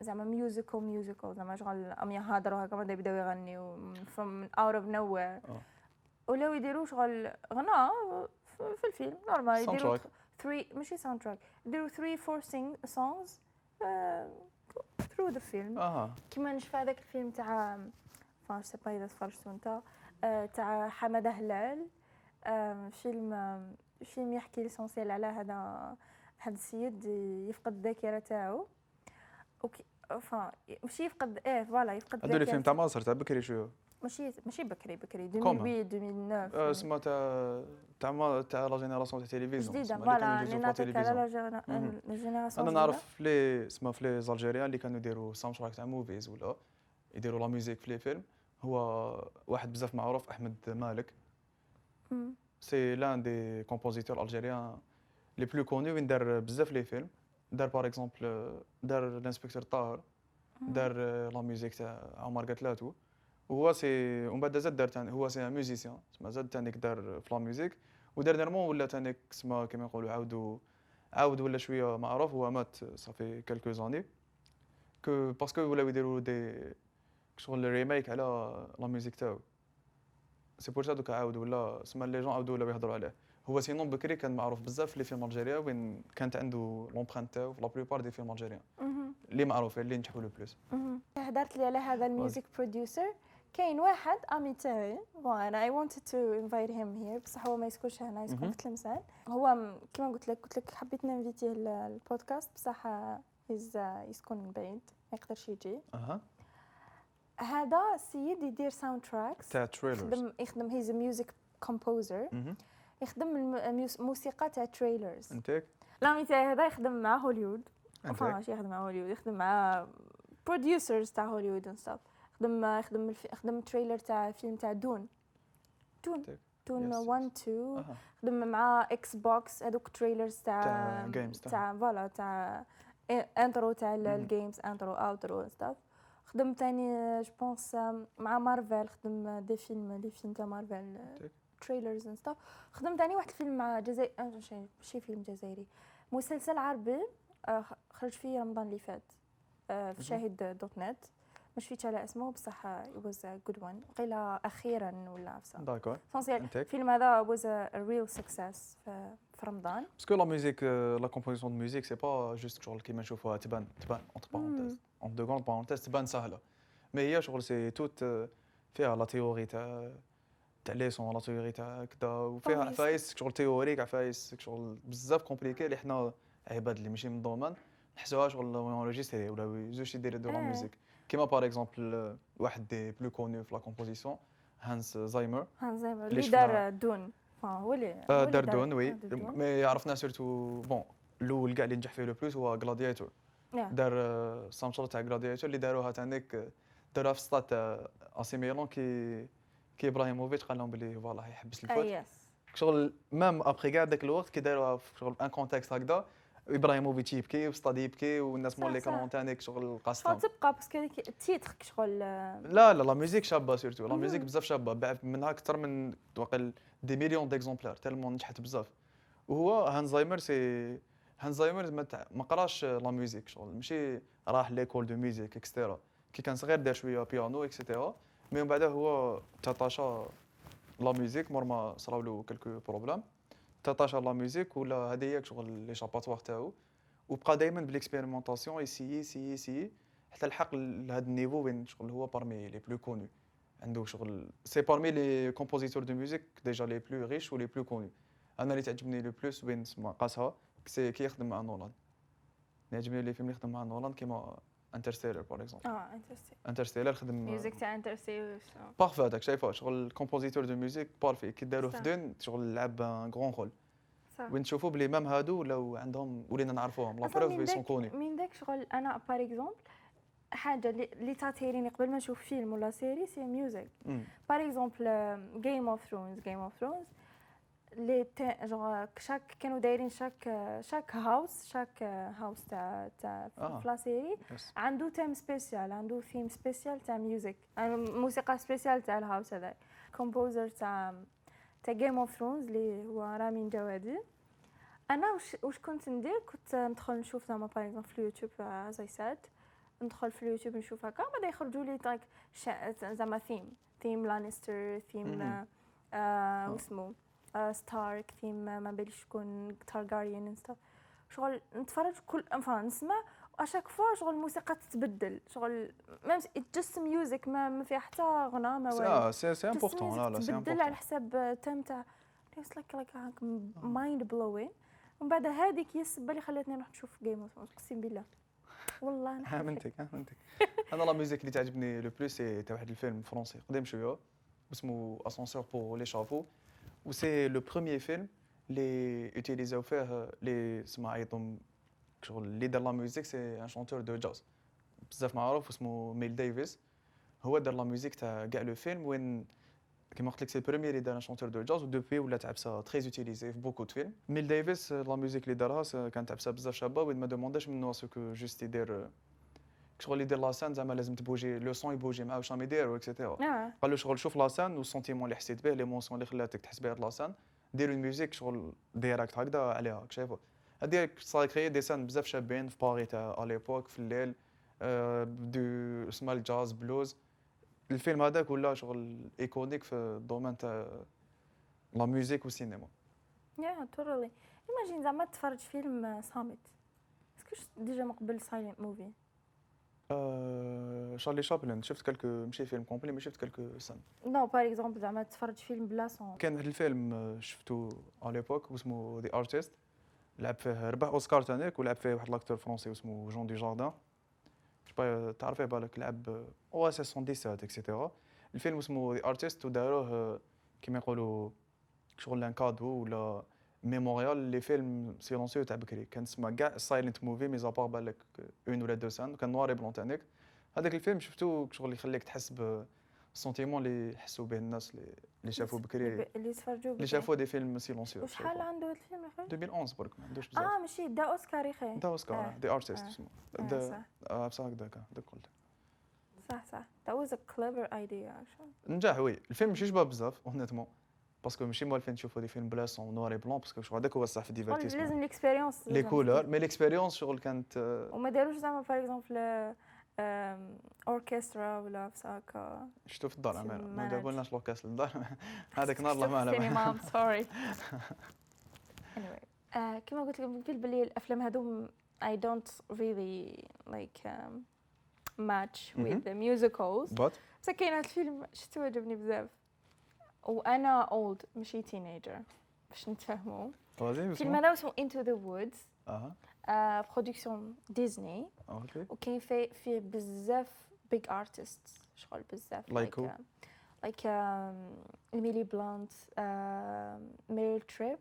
[SPEAKER 2] زعما ميوزيكال ميوزيكال زعما شغل ام يهضروا هكا بعدا يبداو يغنيو فروم اوت اوف نو وير
[SPEAKER 3] آه.
[SPEAKER 2] ولاو يديروا شغل غناء في في الفيلم نورمال
[SPEAKER 3] Soundtrack.
[SPEAKER 2] يديروا 3 ماشي ساوند تراك يديروا 3 4 سونغز آه، ثرو ذا فيلم
[SPEAKER 3] اها
[SPEAKER 2] كيما نشفى هذاك الفيلم تاع فان سي با اذا تفرجتو انت آه، تاع حماده هلال آم، فيلم آم، فيلم يحكي ليسونسيال على هذا هذا السيد يفقد الذاكره تاعو اوكي فا ماشي يفقد ايه فوالا يفقد
[SPEAKER 3] هذو لي فيلم تاع
[SPEAKER 2] الذاكره
[SPEAKER 3] مصر تاع بكري شو
[SPEAKER 2] ماشي ماشي بكري بكري
[SPEAKER 3] كوما.
[SPEAKER 2] 2008 2009
[SPEAKER 3] آه، سما تاع تاع ما- تاع لا جينيراسيون تاع التلفزيون
[SPEAKER 2] جديده
[SPEAKER 3] سما اللي
[SPEAKER 2] فوالا
[SPEAKER 3] كانوا يدوزوا
[SPEAKER 2] اللي
[SPEAKER 3] في
[SPEAKER 2] نعطيك على
[SPEAKER 3] التلفزيون.
[SPEAKER 2] لا جينا-
[SPEAKER 3] مهم.
[SPEAKER 2] الجينيراسيون
[SPEAKER 3] انا
[SPEAKER 2] الجديدة.
[SPEAKER 3] نعرف في لي سما في لي زالجيريان اللي كانوا يديروا ساوند تراك تاع موفيز ولا يديروا لا ميوزيك في لي فيلم هو واحد بزاف معروف احمد مالك
[SPEAKER 2] مم.
[SPEAKER 3] سي لان دي كومبوزيتور الجيريان لي بلو كوني وين دار بزاف لي فيلم دار باغ اكزومبل دار الانسبكتور طاهر دار لا ميوزيك تاع عمر قتلاتو وهو سي ومن بعد زاد دار تاني هو سي ان ميوزيسيان تسمى زاد تانيك دار في لا ميوزيك ودرنيرمون ولا تانيك تسمى كيما نقولوا عاودوا عاود ولا شويه معروف هو مات صافي كالكو زاني كو باسكو ولاو يديروا دي شغل ريميك على لا ميوزيك تاعو سي بور سا دوكا عاود ولا سما لي جون عاودوا ولاو يهضروا عليه هو سينون بكري كان معروف بزاف لي فيلم الجيريا وين كانت عنده لومبرانت تاعو في لا بلوبار دي فيلم الجيريا اللي معروفين اللي نجحوا لو بلوس
[SPEAKER 2] هدرت لي على هذا الميوزك بروديوسر كاين واحد امي تاعي وانا اي wanted تو انفايت هيم هير بصح هو ما يسكنش هنا يسكن
[SPEAKER 3] مهم.
[SPEAKER 2] في تلمسان هو م- كيما قلت لك قلت لك حبيت ننفيتيه للبودكاست بصح آه، يز- آه، يسكن بعيد ما يقدرش يجي
[SPEAKER 3] اها
[SPEAKER 2] هذا السيد يدير ساوند تراكس
[SPEAKER 3] تاع تريلرز
[SPEAKER 2] يخدم يخدم هيز ميوزك كومبوزر
[SPEAKER 3] Mm-hmm.
[SPEAKER 2] يخدم الم- الميوس- موسيقى تاع تريلرز
[SPEAKER 3] انتك
[SPEAKER 2] الامي تاعي هذا يخدم مع هوليوود فما
[SPEAKER 3] انتك
[SPEAKER 2] ماشي يخدم مع هوليوود يخدم مع بروديوسرز تاع هوليوود اند ستاف يخدم يخدم الف... يخدم تريلر تاع فيلم تاع دون دون
[SPEAKER 3] تك.
[SPEAKER 2] دون
[SPEAKER 3] Yes, أه.
[SPEAKER 2] 1 2
[SPEAKER 3] أها.
[SPEAKER 2] خدم مع اكس بوكس هذوك تريلرز تاع
[SPEAKER 3] تاع games تاعهم.
[SPEAKER 2] تاع فوالا تاع انترو تاع ال-
[SPEAKER 3] مم.
[SPEAKER 2] الجيمز انترو اوترو ستاف خدم تاني جو بونس مع مارفل خدم دي فيلم دي فيلم تاع مارفل
[SPEAKER 3] تك.
[SPEAKER 2] تريلرز اند ستاف خدم تاني واحد الفيلم مع جزائر آه، شي- شي فيلم جزائري مسلسل عربي آه، خ- خرج فيه رمضان اللي فات آه، في
[SPEAKER 3] مهم.
[SPEAKER 2] شاهد دوت نت ما شفيتش على اسمه بصح واز جود وان قيل اخيرا ولا عفسه
[SPEAKER 3] داكور
[SPEAKER 2] فونسيال
[SPEAKER 3] انتك
[SPEAKER 2] الفيلم هذا was a, a real success في, في رمضان
[SPEAKER 3] باسكو لا ميوزيك لا كومبوزيسيون دو ميوزيك سي با جوست شغل كيما نشوفوها تبان تبان اونت بارونتيز اون دو كروند بارونتيز تبان سهله مي هي شغل سي توت آه، فيها لا تيوري تاع تاع لي سون لا تيوري تاع كدا وفيها
[SPEAKER 2] طبيعي.
[SPEAKER 3] عفايس شغل تيوريك عفايس شغل بزاف كومبليكي اللي حنا عباد اللي ماشي من الدومين نحسوها شغل اونجيستري ولا زوج يدير دو لا
[SPEAKER 2] آه.
[SPEAKER 3] ميوزيك كيما باغ اكزومبل واحد دي بلو كونو في لا كومبوزيسيون هانس زايمر
[SPEAKER 2] هانز زيمر
[SPEAKER 3] ليش
[SPEAKER 2] اللي دار دون آه، هو اللي هو
[SPEAKER 3] آه،
[SPEAKER 2] اللي
[SPEAKER 3] دار دون وي
[SPEAKER 2] دار دون.
[SPEAKER 3] مي عرفنا سيرتو بون الاول كاع اللي نجح فيه لو بلوس هو غلادياتور
[SPEAKER 2] نعم.
[SPEAKER 3] دار آه، سامسونج تاع غلادياتور اللي داروها تانيك آه، داروها في ستاد تاع اسي ميلون كي كي ابراهيموفيتش قال لهم بلي فوالا يحبس
[SPEAKER 2] آه،
[SPEAKER 3] الفوت
[SPEAKER 2] يس
[SPEAKER 3] شغل مام ابخي كاع ذاك الوقت كي داروها في شغل ان كونتكست هكذا ابراهيموفيتش يبكي وستاد يبكي والناس مول
[SPEAKER 2] صح،
[SPEAKER 3] لي
[SPEAKER 2] صح.
[SPEAKER 3] كرون تانيك شغل
[SPEAKER 2] شغل
[SPEAKER 3] قاصتهم
[SPEAKER 2] تبقى باسكو هذيك التيتر شغل آه،
[SPEAKER 3] لا لا لا ميوزيك شابه سيرتو لا
[SPEAKER 2] مم.
[SPEAKER 3] ميوزيك بزاف شابه باع منها اكثر من واقل دي مليون ديكزومبلار تالمون نجحت بزاف وهو هانزايمر سي هانزايمر ما, تع... ما قراش لا ميوزيك شغل ماشي راح ليكول دو ميوزيك اكسترا كي كان صغير دار شويه بيانو اكسترا مي من بعد هو تطاشا لا ميوزيك مور ما صراو له كلكو بروبلام تطاشا لا ميوزيك ولا هذه هي شغل ليشاباتوار تاعو وبقى دائما بالاكسبيرمونطاسيون يسيي يسيي يسيي حتى الحق لهذا النيفو وين شغل هو بارمي لي بلو كونو عنده شغل سي بارمي لي كومبوزيتور دو ميوزيك ديجا لي بلو ريش ولي بلو كونو انا اللي تعجبني لو بلوس وين تسمى قاسها سي كي يخدم مع نولان يعجبني لي فيلم اللي يخدم مع نولان كيما انترستيلر باغ اكزومبل
[SPEAKER 2] اه انترستين
[SPEAKER 3] انترستيلر خدم
[SPEAKER 2] ميوزك تاع انترستين
[SPEAKER 3] بارفي هذاك شايفه شغل كومبوزيتور دو ميوزيك بارفي كي داروه في
[SPEAKER 2] صح.
[SPEAKER 3] دون شغل لعب ان غران رول
[SPEAKER 2] صح
[SPEAKER 3] وين تشوفوا بلي مام هادو لو عندهم ولينا نعرفوهم لا
[SPEAKER 2] أصلاً
[SPEAKER 3] بروف
[SPEAKER 2] من
[SPEAKER 3] بي سون
[SPEAKER 2] ذاك-
[SPEAKER 3] كوني
[SPEAKER 2] من ذاك شغل انا بار اكزومبل حاجه اللي- اللي تاتيريني قبل ما نشوف فيلم ولا سيري سي ميوزك
[SPEAKER 3] أمم.
[SPEAKER 2] باغ اكزومبل جيم اوف ثرونز جيم اوف ثرونز لي تا- جونغ شاك كانوا دايرين شاك آه، شاك هاوس شاك آه، هاوس تاع تاع
[SPEAKER 3] آه.
[SPEAKER 2] في لا سيري
[SPEAKER 3] يس.
[SPEAKER 2] عنده تيم سبيسيال عنده ثيم سبيسيال تاع ميوزك آه، موسيقى سبيسيال تاع الهاوس هذا كومبوزر تاع تاع جيم اوف ثرونز اللي هو رامين جوادي انا وش, وش كنت ندير كنت ندخل نشوف زعما باغ اكزومبل في اليوتيوب از اي ساد ندخل في اليوتيوب نشوف هكا بعدا يخرجوا لي تاك زعما ثيم ثيم لانستر ثيم
[SPEAKER 3] مهم.
[SPEAKER 2] آه، آه واسمو آه ستارك ثيم ما باليش شكون تارغاريان and stuff. شغل نتفرج كل انفا نسمع واشاك فوا شغل الموسيقى تتبدل شغل ميم جست ميوزك ما ما فيها حتى غنى ما والو
[SPEAKER 3] سي- سي سي
[SPEAKER 2] Just
[SPEAKER 3] امبورتون
[SPEAKER 2] music
[SPEAKER 3] لا لا سي
[SPEAKER 2] تبدل على
[SPEAKER 3] امبورتون
[SPEAKER 2] حساب تام تاع اتس لايك لايك هاك مايند بلوين ومن بعد هذيك هي السبه اللي خلاتني نروح نشوف جيم اوف ثرونز اقسم بالله
[SPEAKER 3] آه،
[SPEAKER 2] والله نحلف لك.
[SPEAKER 3] امنتك امنتك انا لا ميوزيك اللي تعجبني لو بلوس سي تاع واحد الفيلم فرونسي قديم شويه اسمه اسانسور بور لي شافو و سي لو بروميي فيلم لي يوتيليزاو فيه لي سما عيطهم شغل اللي دار لا ميوزيك سي ان شونتور دو جاز بزاف معروف اسمه ميل ديفيس هو دار لا ميوزيك تاع كاع لو فيلم وين كيما قلت لك سي بروميي اللي دار ان شونتور دو جاز ودوبي ولات عبسه تري يوتيليزي في بوكو دو فيلم ميل ديفيس لا ميوزيك اللي دارها سا- كانت عبسه بزاف شابه وين ما دومونداش منه اسكو جوست يدير شغل يدير لا سان زعما لازم تبوجي لو سون يبوجي معاه واش راهم يديروا اكسيتيرا
[SPEAKER 2] اه
[SPEAKER 3] قال له شغل شوف لا سان والسونتيمون اللي حسيت به ليمونسيون اللي خلاتك تحس بها لا سان دير اون ميوزيك شغل ديراكت هكذا عليها راك شايفه هذه صار كريي دي سان بزاف شابين في باري تاع اليبوك في الليل آه، دو اسمها الجاز بلوز الفيلم هذاك ولا شغل ايكونيك في الدومين تاع لا ميوزيك والسينما
[SPEAKER 2] يا تورلي ايماجين زعما تفرج فيلم آه، صامت اسكو ديجا من قبل سايلنت موفي
[SPEAKER 3] آه، شارلي شابلن شفت كلكو ماشي فيلم كومبلي مي شفت كلكو سان
[SPEAKER 2] نو باغ اكزومبل زعما تفرج فيلم بلا سون
[SPEAKER 3] كان واحد الفيلم آه، شفتو على ليبوك واسمو ذا ارتست لعب فيه ربح اوسكار تانيك ولعب فيه واحد لاكتور فرونسي اسمه جون دي جاردان با تعرفيه بالك لعب او اس 77 اكسيتيرا الفيلم اسمه ذا ارتست وداروه آه، كيما يقولوا شغل ان كادو ولا ميموريال اللي فيلم سيلونسيو تاع بكري كان تسمى كاع سايلنت موفي مي زابار بالك اون ولا دو سان كان نوار بلون تانيك هذاك الفيلم شفتو شغل يخليك تحس بالسونتيمون اللي حسوا به الناس اللي اللي شافوا بكري
[SPEAKER 2] اللي تفرجوا
[SPEAKER 3] اللي شافوا دي فيلم سيلونسيو
[SPEAKER 2] وشحال عنده هاد الفيلم الاخر
[SPEAKER 3] 2011 برك ما عندوش بزاف
[SPEAKER 2] اه ماشي دا اوسكار يخي
[SPEAKER 3] انت اوسكار
[SPEAKER 2] آه،
[SPEAKER 3] دي ارتست
[SPEAKER 2] آه.
[SPEAKER 3] اسمه
[SPEAKER 2] آه،
[SPEAKER 3] دا-
[SPEAKER 2] صح
[SPEAKER 3] آه، بصح هكذاك هكذاك قلت
[SPEAKER 2] صح صح that was a clever idea actually
[SPEAKER 3] نجح وي الفيلم ماشي شباب بزاف اونيتمون باسكو ماشي موالفين نشوفوا دي فيلم بلا سون نوار اي بلون باسكو شغل هذاك هو الصح في
[SPEAKER 2] شغل
[SPEAKER 3] ديفيرتيسمون
[SPEAKER 2] لازم الاكسبيريونس
[SPEAKER 3] لي كولور مي ليكسبيريونس شغل كانت آه،
[SPEAKER 2] وما داروش زعما باغ اكزومبل اوركسترا ولا بساكا
[SPEAKER 3] شفتو في الدار عمالة ما
[SPEAKER 2] تمام.
[SPEAKER 3] دابولناش لوكاس للدار
[SPEAKER 2] Ah,
[SPEAKER 3] هذاك نهار الله ما
[SPEAKER 4] سينما
[SPEAKER 3] على
[SPEAKER 4] I'm sorry
[SPEAKER 2] anyway آه كما قلت لك من قبل بلي الافلام هذو I don't really like um, match with
[SPEAKER 3] مهم.
[SPEAKER 2] the musicals
[SPEAKER 3] بات
[SPEAKER 2] بصح كاين هاد الفيلم شفتو عجبني بزاف وانا old ماشي teenager باش نتفاهموا
[SPEAKER 3] فازي
[SPEAKER 2] الفيلم
[SPEAKER 3] بسم
[SPEAKER 2] هذا اسمه into the woods
[SPEAKER 3] اها
[SPEAKER 2] آه برودكسيون ديزني
[SPEAKER 3] اوكي
[SPEAKER 2] وكاين في فيه بزاف big artists شغل بزاف
[SPEAKER 3] Like who?
[SPEAKER 2] uh, like آه، ايميلي بلانت آه، ميريل تريب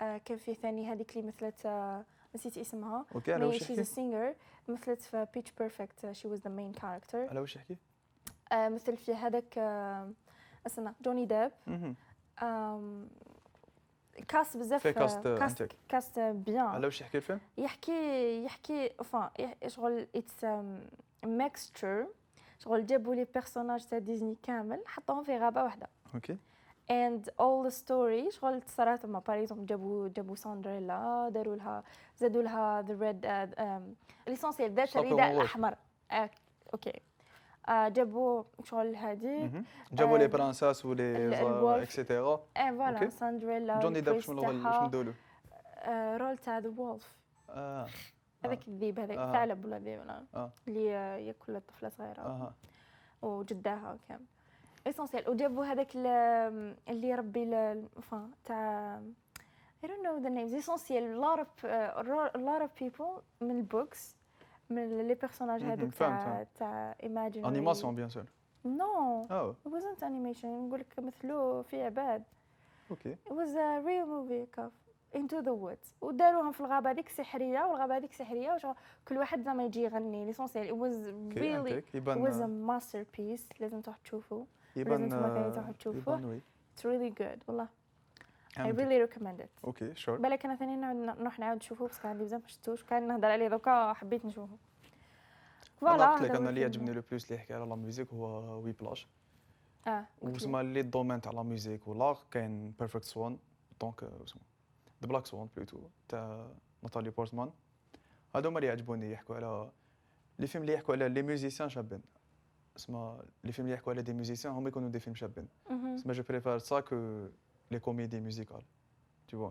[SPEAKER 2] آه، كان في ثاني هذيك اللي مثلت آه، نسيت اسمها
[SPEAKER 3] اوكي على
[SPEAKER 2] مي
[SPEAKER 3] واش
[SPEAKER 2] شيز
[SPEAKER 3] يحكي
[SPEAKER 2] سينجر مثلت في آه، بيتش بيرفكت شي واز ذا مين كاركتر
[SPEAKER 3] على واش يحكي
[SPEAKER 2] مثل في هذاك آه، استنى جوني ديب
[SPEAKER 3] مهم.
[SPEAKER 2] آم، كاست بزاف
[SPEAKER 3] في كاست، آه،
[SPEAKER 2] كاست
[SPEAKER 3] عندك.
[SPEAKER 2] كاست بيان
[SPEAKER 3] على واش يحكي الفيلم
[SPEAKER 2] يحكي يحكي enfin يح- شغل اتس ميكستشر شغل جابوا لي بيرسوناج تاع ديزني كامل حطوهم في غابه واحده
[SPEAKER 3] اوكي
[SPEAKER 2] and all the story شغل صارت تما باغ اكزومبل جابوا جابوا ساندريلا داروا لها زادوا لها the red آه، ليسونسيال ذات
[SPEAKER 3] شطبوا
[SPEAKER 2] الرداء
[SPEAKER 3] وش.
[SPEAKER 2] الاحمر آه، اوكي آه، جابوا شغل هذه
[SPEAKER 3] مهم. جابوا لي
[SPEAKER 2] آه،
[SPEAKER 3] برانساس
[SPEAKER 2] ال-
[SPEAKER 3] ولي
[SPEAKER 2] الولف.
[SPEAKER 3] اكسيتيرا
[SPEAKER 2] ايه
[SPEAKER 3] أوكي.
[SPEAKER 2] فوالا ساندريلا
[SPEAKER 3] جوني داب شنو الغل- شنو دولو
[SPEAKER 2] آه، رول تاع ذا وولف
[SPEAKER 3] اه
[SPEAKER 2] هذاك الذيب هذاك
[SPEAKER 3] آه.
[SPEAKER 2] ثعلب ولا ذيب ولا-
[SPEAKER 3] آه.
[SPEAKER 2] اللي آه، ياكل الطفله صغيره
[SPEAKER 3] اها
[SPEAKER 2] وجداها وكامل اسونسيال وجابوا هذاك ال- اللي يربي ال- فا تاع I don't know the names essentiel a lot of uh, a lot of people من البوكس من لي بيرسوناج
[SPEAKER 3] مهم،
[SPEAKER 2] هذوك
[SPEAKER 3] فهمت،
[SPEAKER 2] تاع
[SPEAKER 3] فهمت.
[SPEAKER 2] تاع imaginary
[SPEAKER 3] انيماسيون بيان سور
[SPEAKER 2] نو
[SPEAKER 3] اه
[SPEAKER 2] it wasn't animation نقول لك مثلو في عباد
[SPEAKER 3] اوكي
[SPEAKER 2] it was a real movie كاف into the woods وداروهم في الغابه هذيك سحريه والغابه هذيك سحريه وشغل كل واحد زعما يجي يغني ليسونسيال it was
[SPEAKER 3] اوكي
[SPEAKER 2] really
[SPEAKER 3] عندك
[SPEAKER 2] it was a
[SPEAKER 3] يبان
[SPEAKER 2] masterpiece لازم تروح تشوفه
[SPEAKER 3] يبان
[SPEAKER 2] انتم كاين
[SPEAKER 3] آه،
[SPEAKER 2] تروحوا تشوفوه.
[SPEAKER 3] يبان وي
[SPEAKER 2] It's really good والله I
[SPEAKER 3] عندك.
[SPEAKER 2] really Bah, recommend it
[SPEAKER 3] اوكي شور
[SPEAKER 2] بالك انا ثاني نعود- نروح نعاود نشوفه بس كان عندي بزاف ما شفتوش كان نهضر عليه دوكا حبيت نشوفه
[SPEAKER 3] انا
[SPEAKER 2] فوالا
[SPEAKER 3] قلت لك
[SPEAKER 2] هذا هو
[SPEAKER 3] انا اللي
[SPEAKER 2] الفيلم.
[SPEAKER 3] يعجبني لو بلوس اللي يحكي على لا ميوزيك هو وي بلاش
[SPEAKER 2] اه قلت لك.
[SPEAKER 3] وسما لي الدومين تاع لا ميوزيك ولا كاين بيرفكت سوان دونك وسما ذا بلاك سوان بلوتو تاع ناتالي بورتمان هادو هما اللي يعجبوني يحكوا على لي فيلم اللي يحكوا على لي ميوزيسيان شابين اسما لي فيلم اللي يحكوا على دي ميوزيسيان هما يكونوا دي فيلم شابين
[SPEAKER 2] مهم.
[SPEAKER 3] اسما جو بريفير سا كو لي كوميدي ميوزيكال tu vois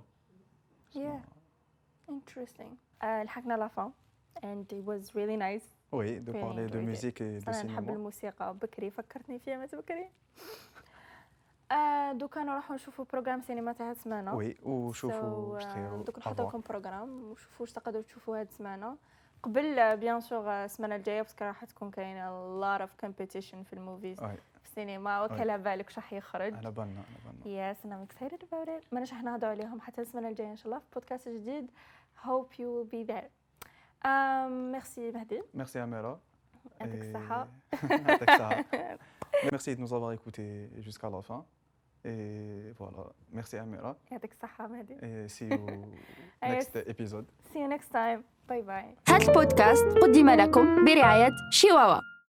[SPEAKER 2] Yeah. interesting آه، لحقنا لافا and it was really nice
[SPEAKER 3] وي دو
[SPEAKER 2] Very
[SPEAKER 3] بارلي دو
[SPEAKER 2] enjoyed it.
[SPEAKER 3] ميوزيك اي دو
[SPEAKER 2] انا نحب
[SPEAKER 3] سينما
[SPEAKER 2] الموسيقى بكري فكرتني فيها ما بكري آه دوكا نروحوا نشوفوا بروجرام سينما تاع هاد السمانه
[SPEAKER 3] وي وشوفوا
[SPEAKER 2] So, euh,
[SPEAKER 3] واش
[SPEAKER 2] آه،
[SPEAKER 3] تخيروا
[SPEAKER 2] دوك
[SPEAKER 3] أفوا.
[SPEAKER 2] نحطو لكم بروغرام وشوفوا واش تقدروا تشوفوا هاد السمانه قبل آه، بيان سور السمانه الجايه باسكو راح تكون كاينه لوت اوف كومبيتيشن في الموفيز
[SPEAKER 3] وي،
[SPEAKER 2] في السينما وكل على بالك واش راح يخرج
[SPEAKER 3] آه. على بالنا على بالنا
[SPEAKER 2] يس انا اكسايتد اباوت ات ماناش راح نهضروا عليهم حتى السمانه الجايه ان شاء الله في بودكاست جديد hope you will be there آم، ميرسي مهدي
[SPEAKER 3] Merci Amira.
[SPEAKER 2] يعطيك
[SPEAKER 3] Et-
[SPEAKER 2] الصحه
[SPEAKER 3] يعطيك الصحة. Merci de nous avoir écoutés jusqu'à la fin. Et voilà, merci Amira.
[SPEAKER 2] يعطيك الصحه مهدي
[SPEAKER 3] Et see you next episode.
[SPEAKER 2] see you next time باي باي
[SPEAKER 1] هذا البودكاست قدم لكم برعاية شيواوا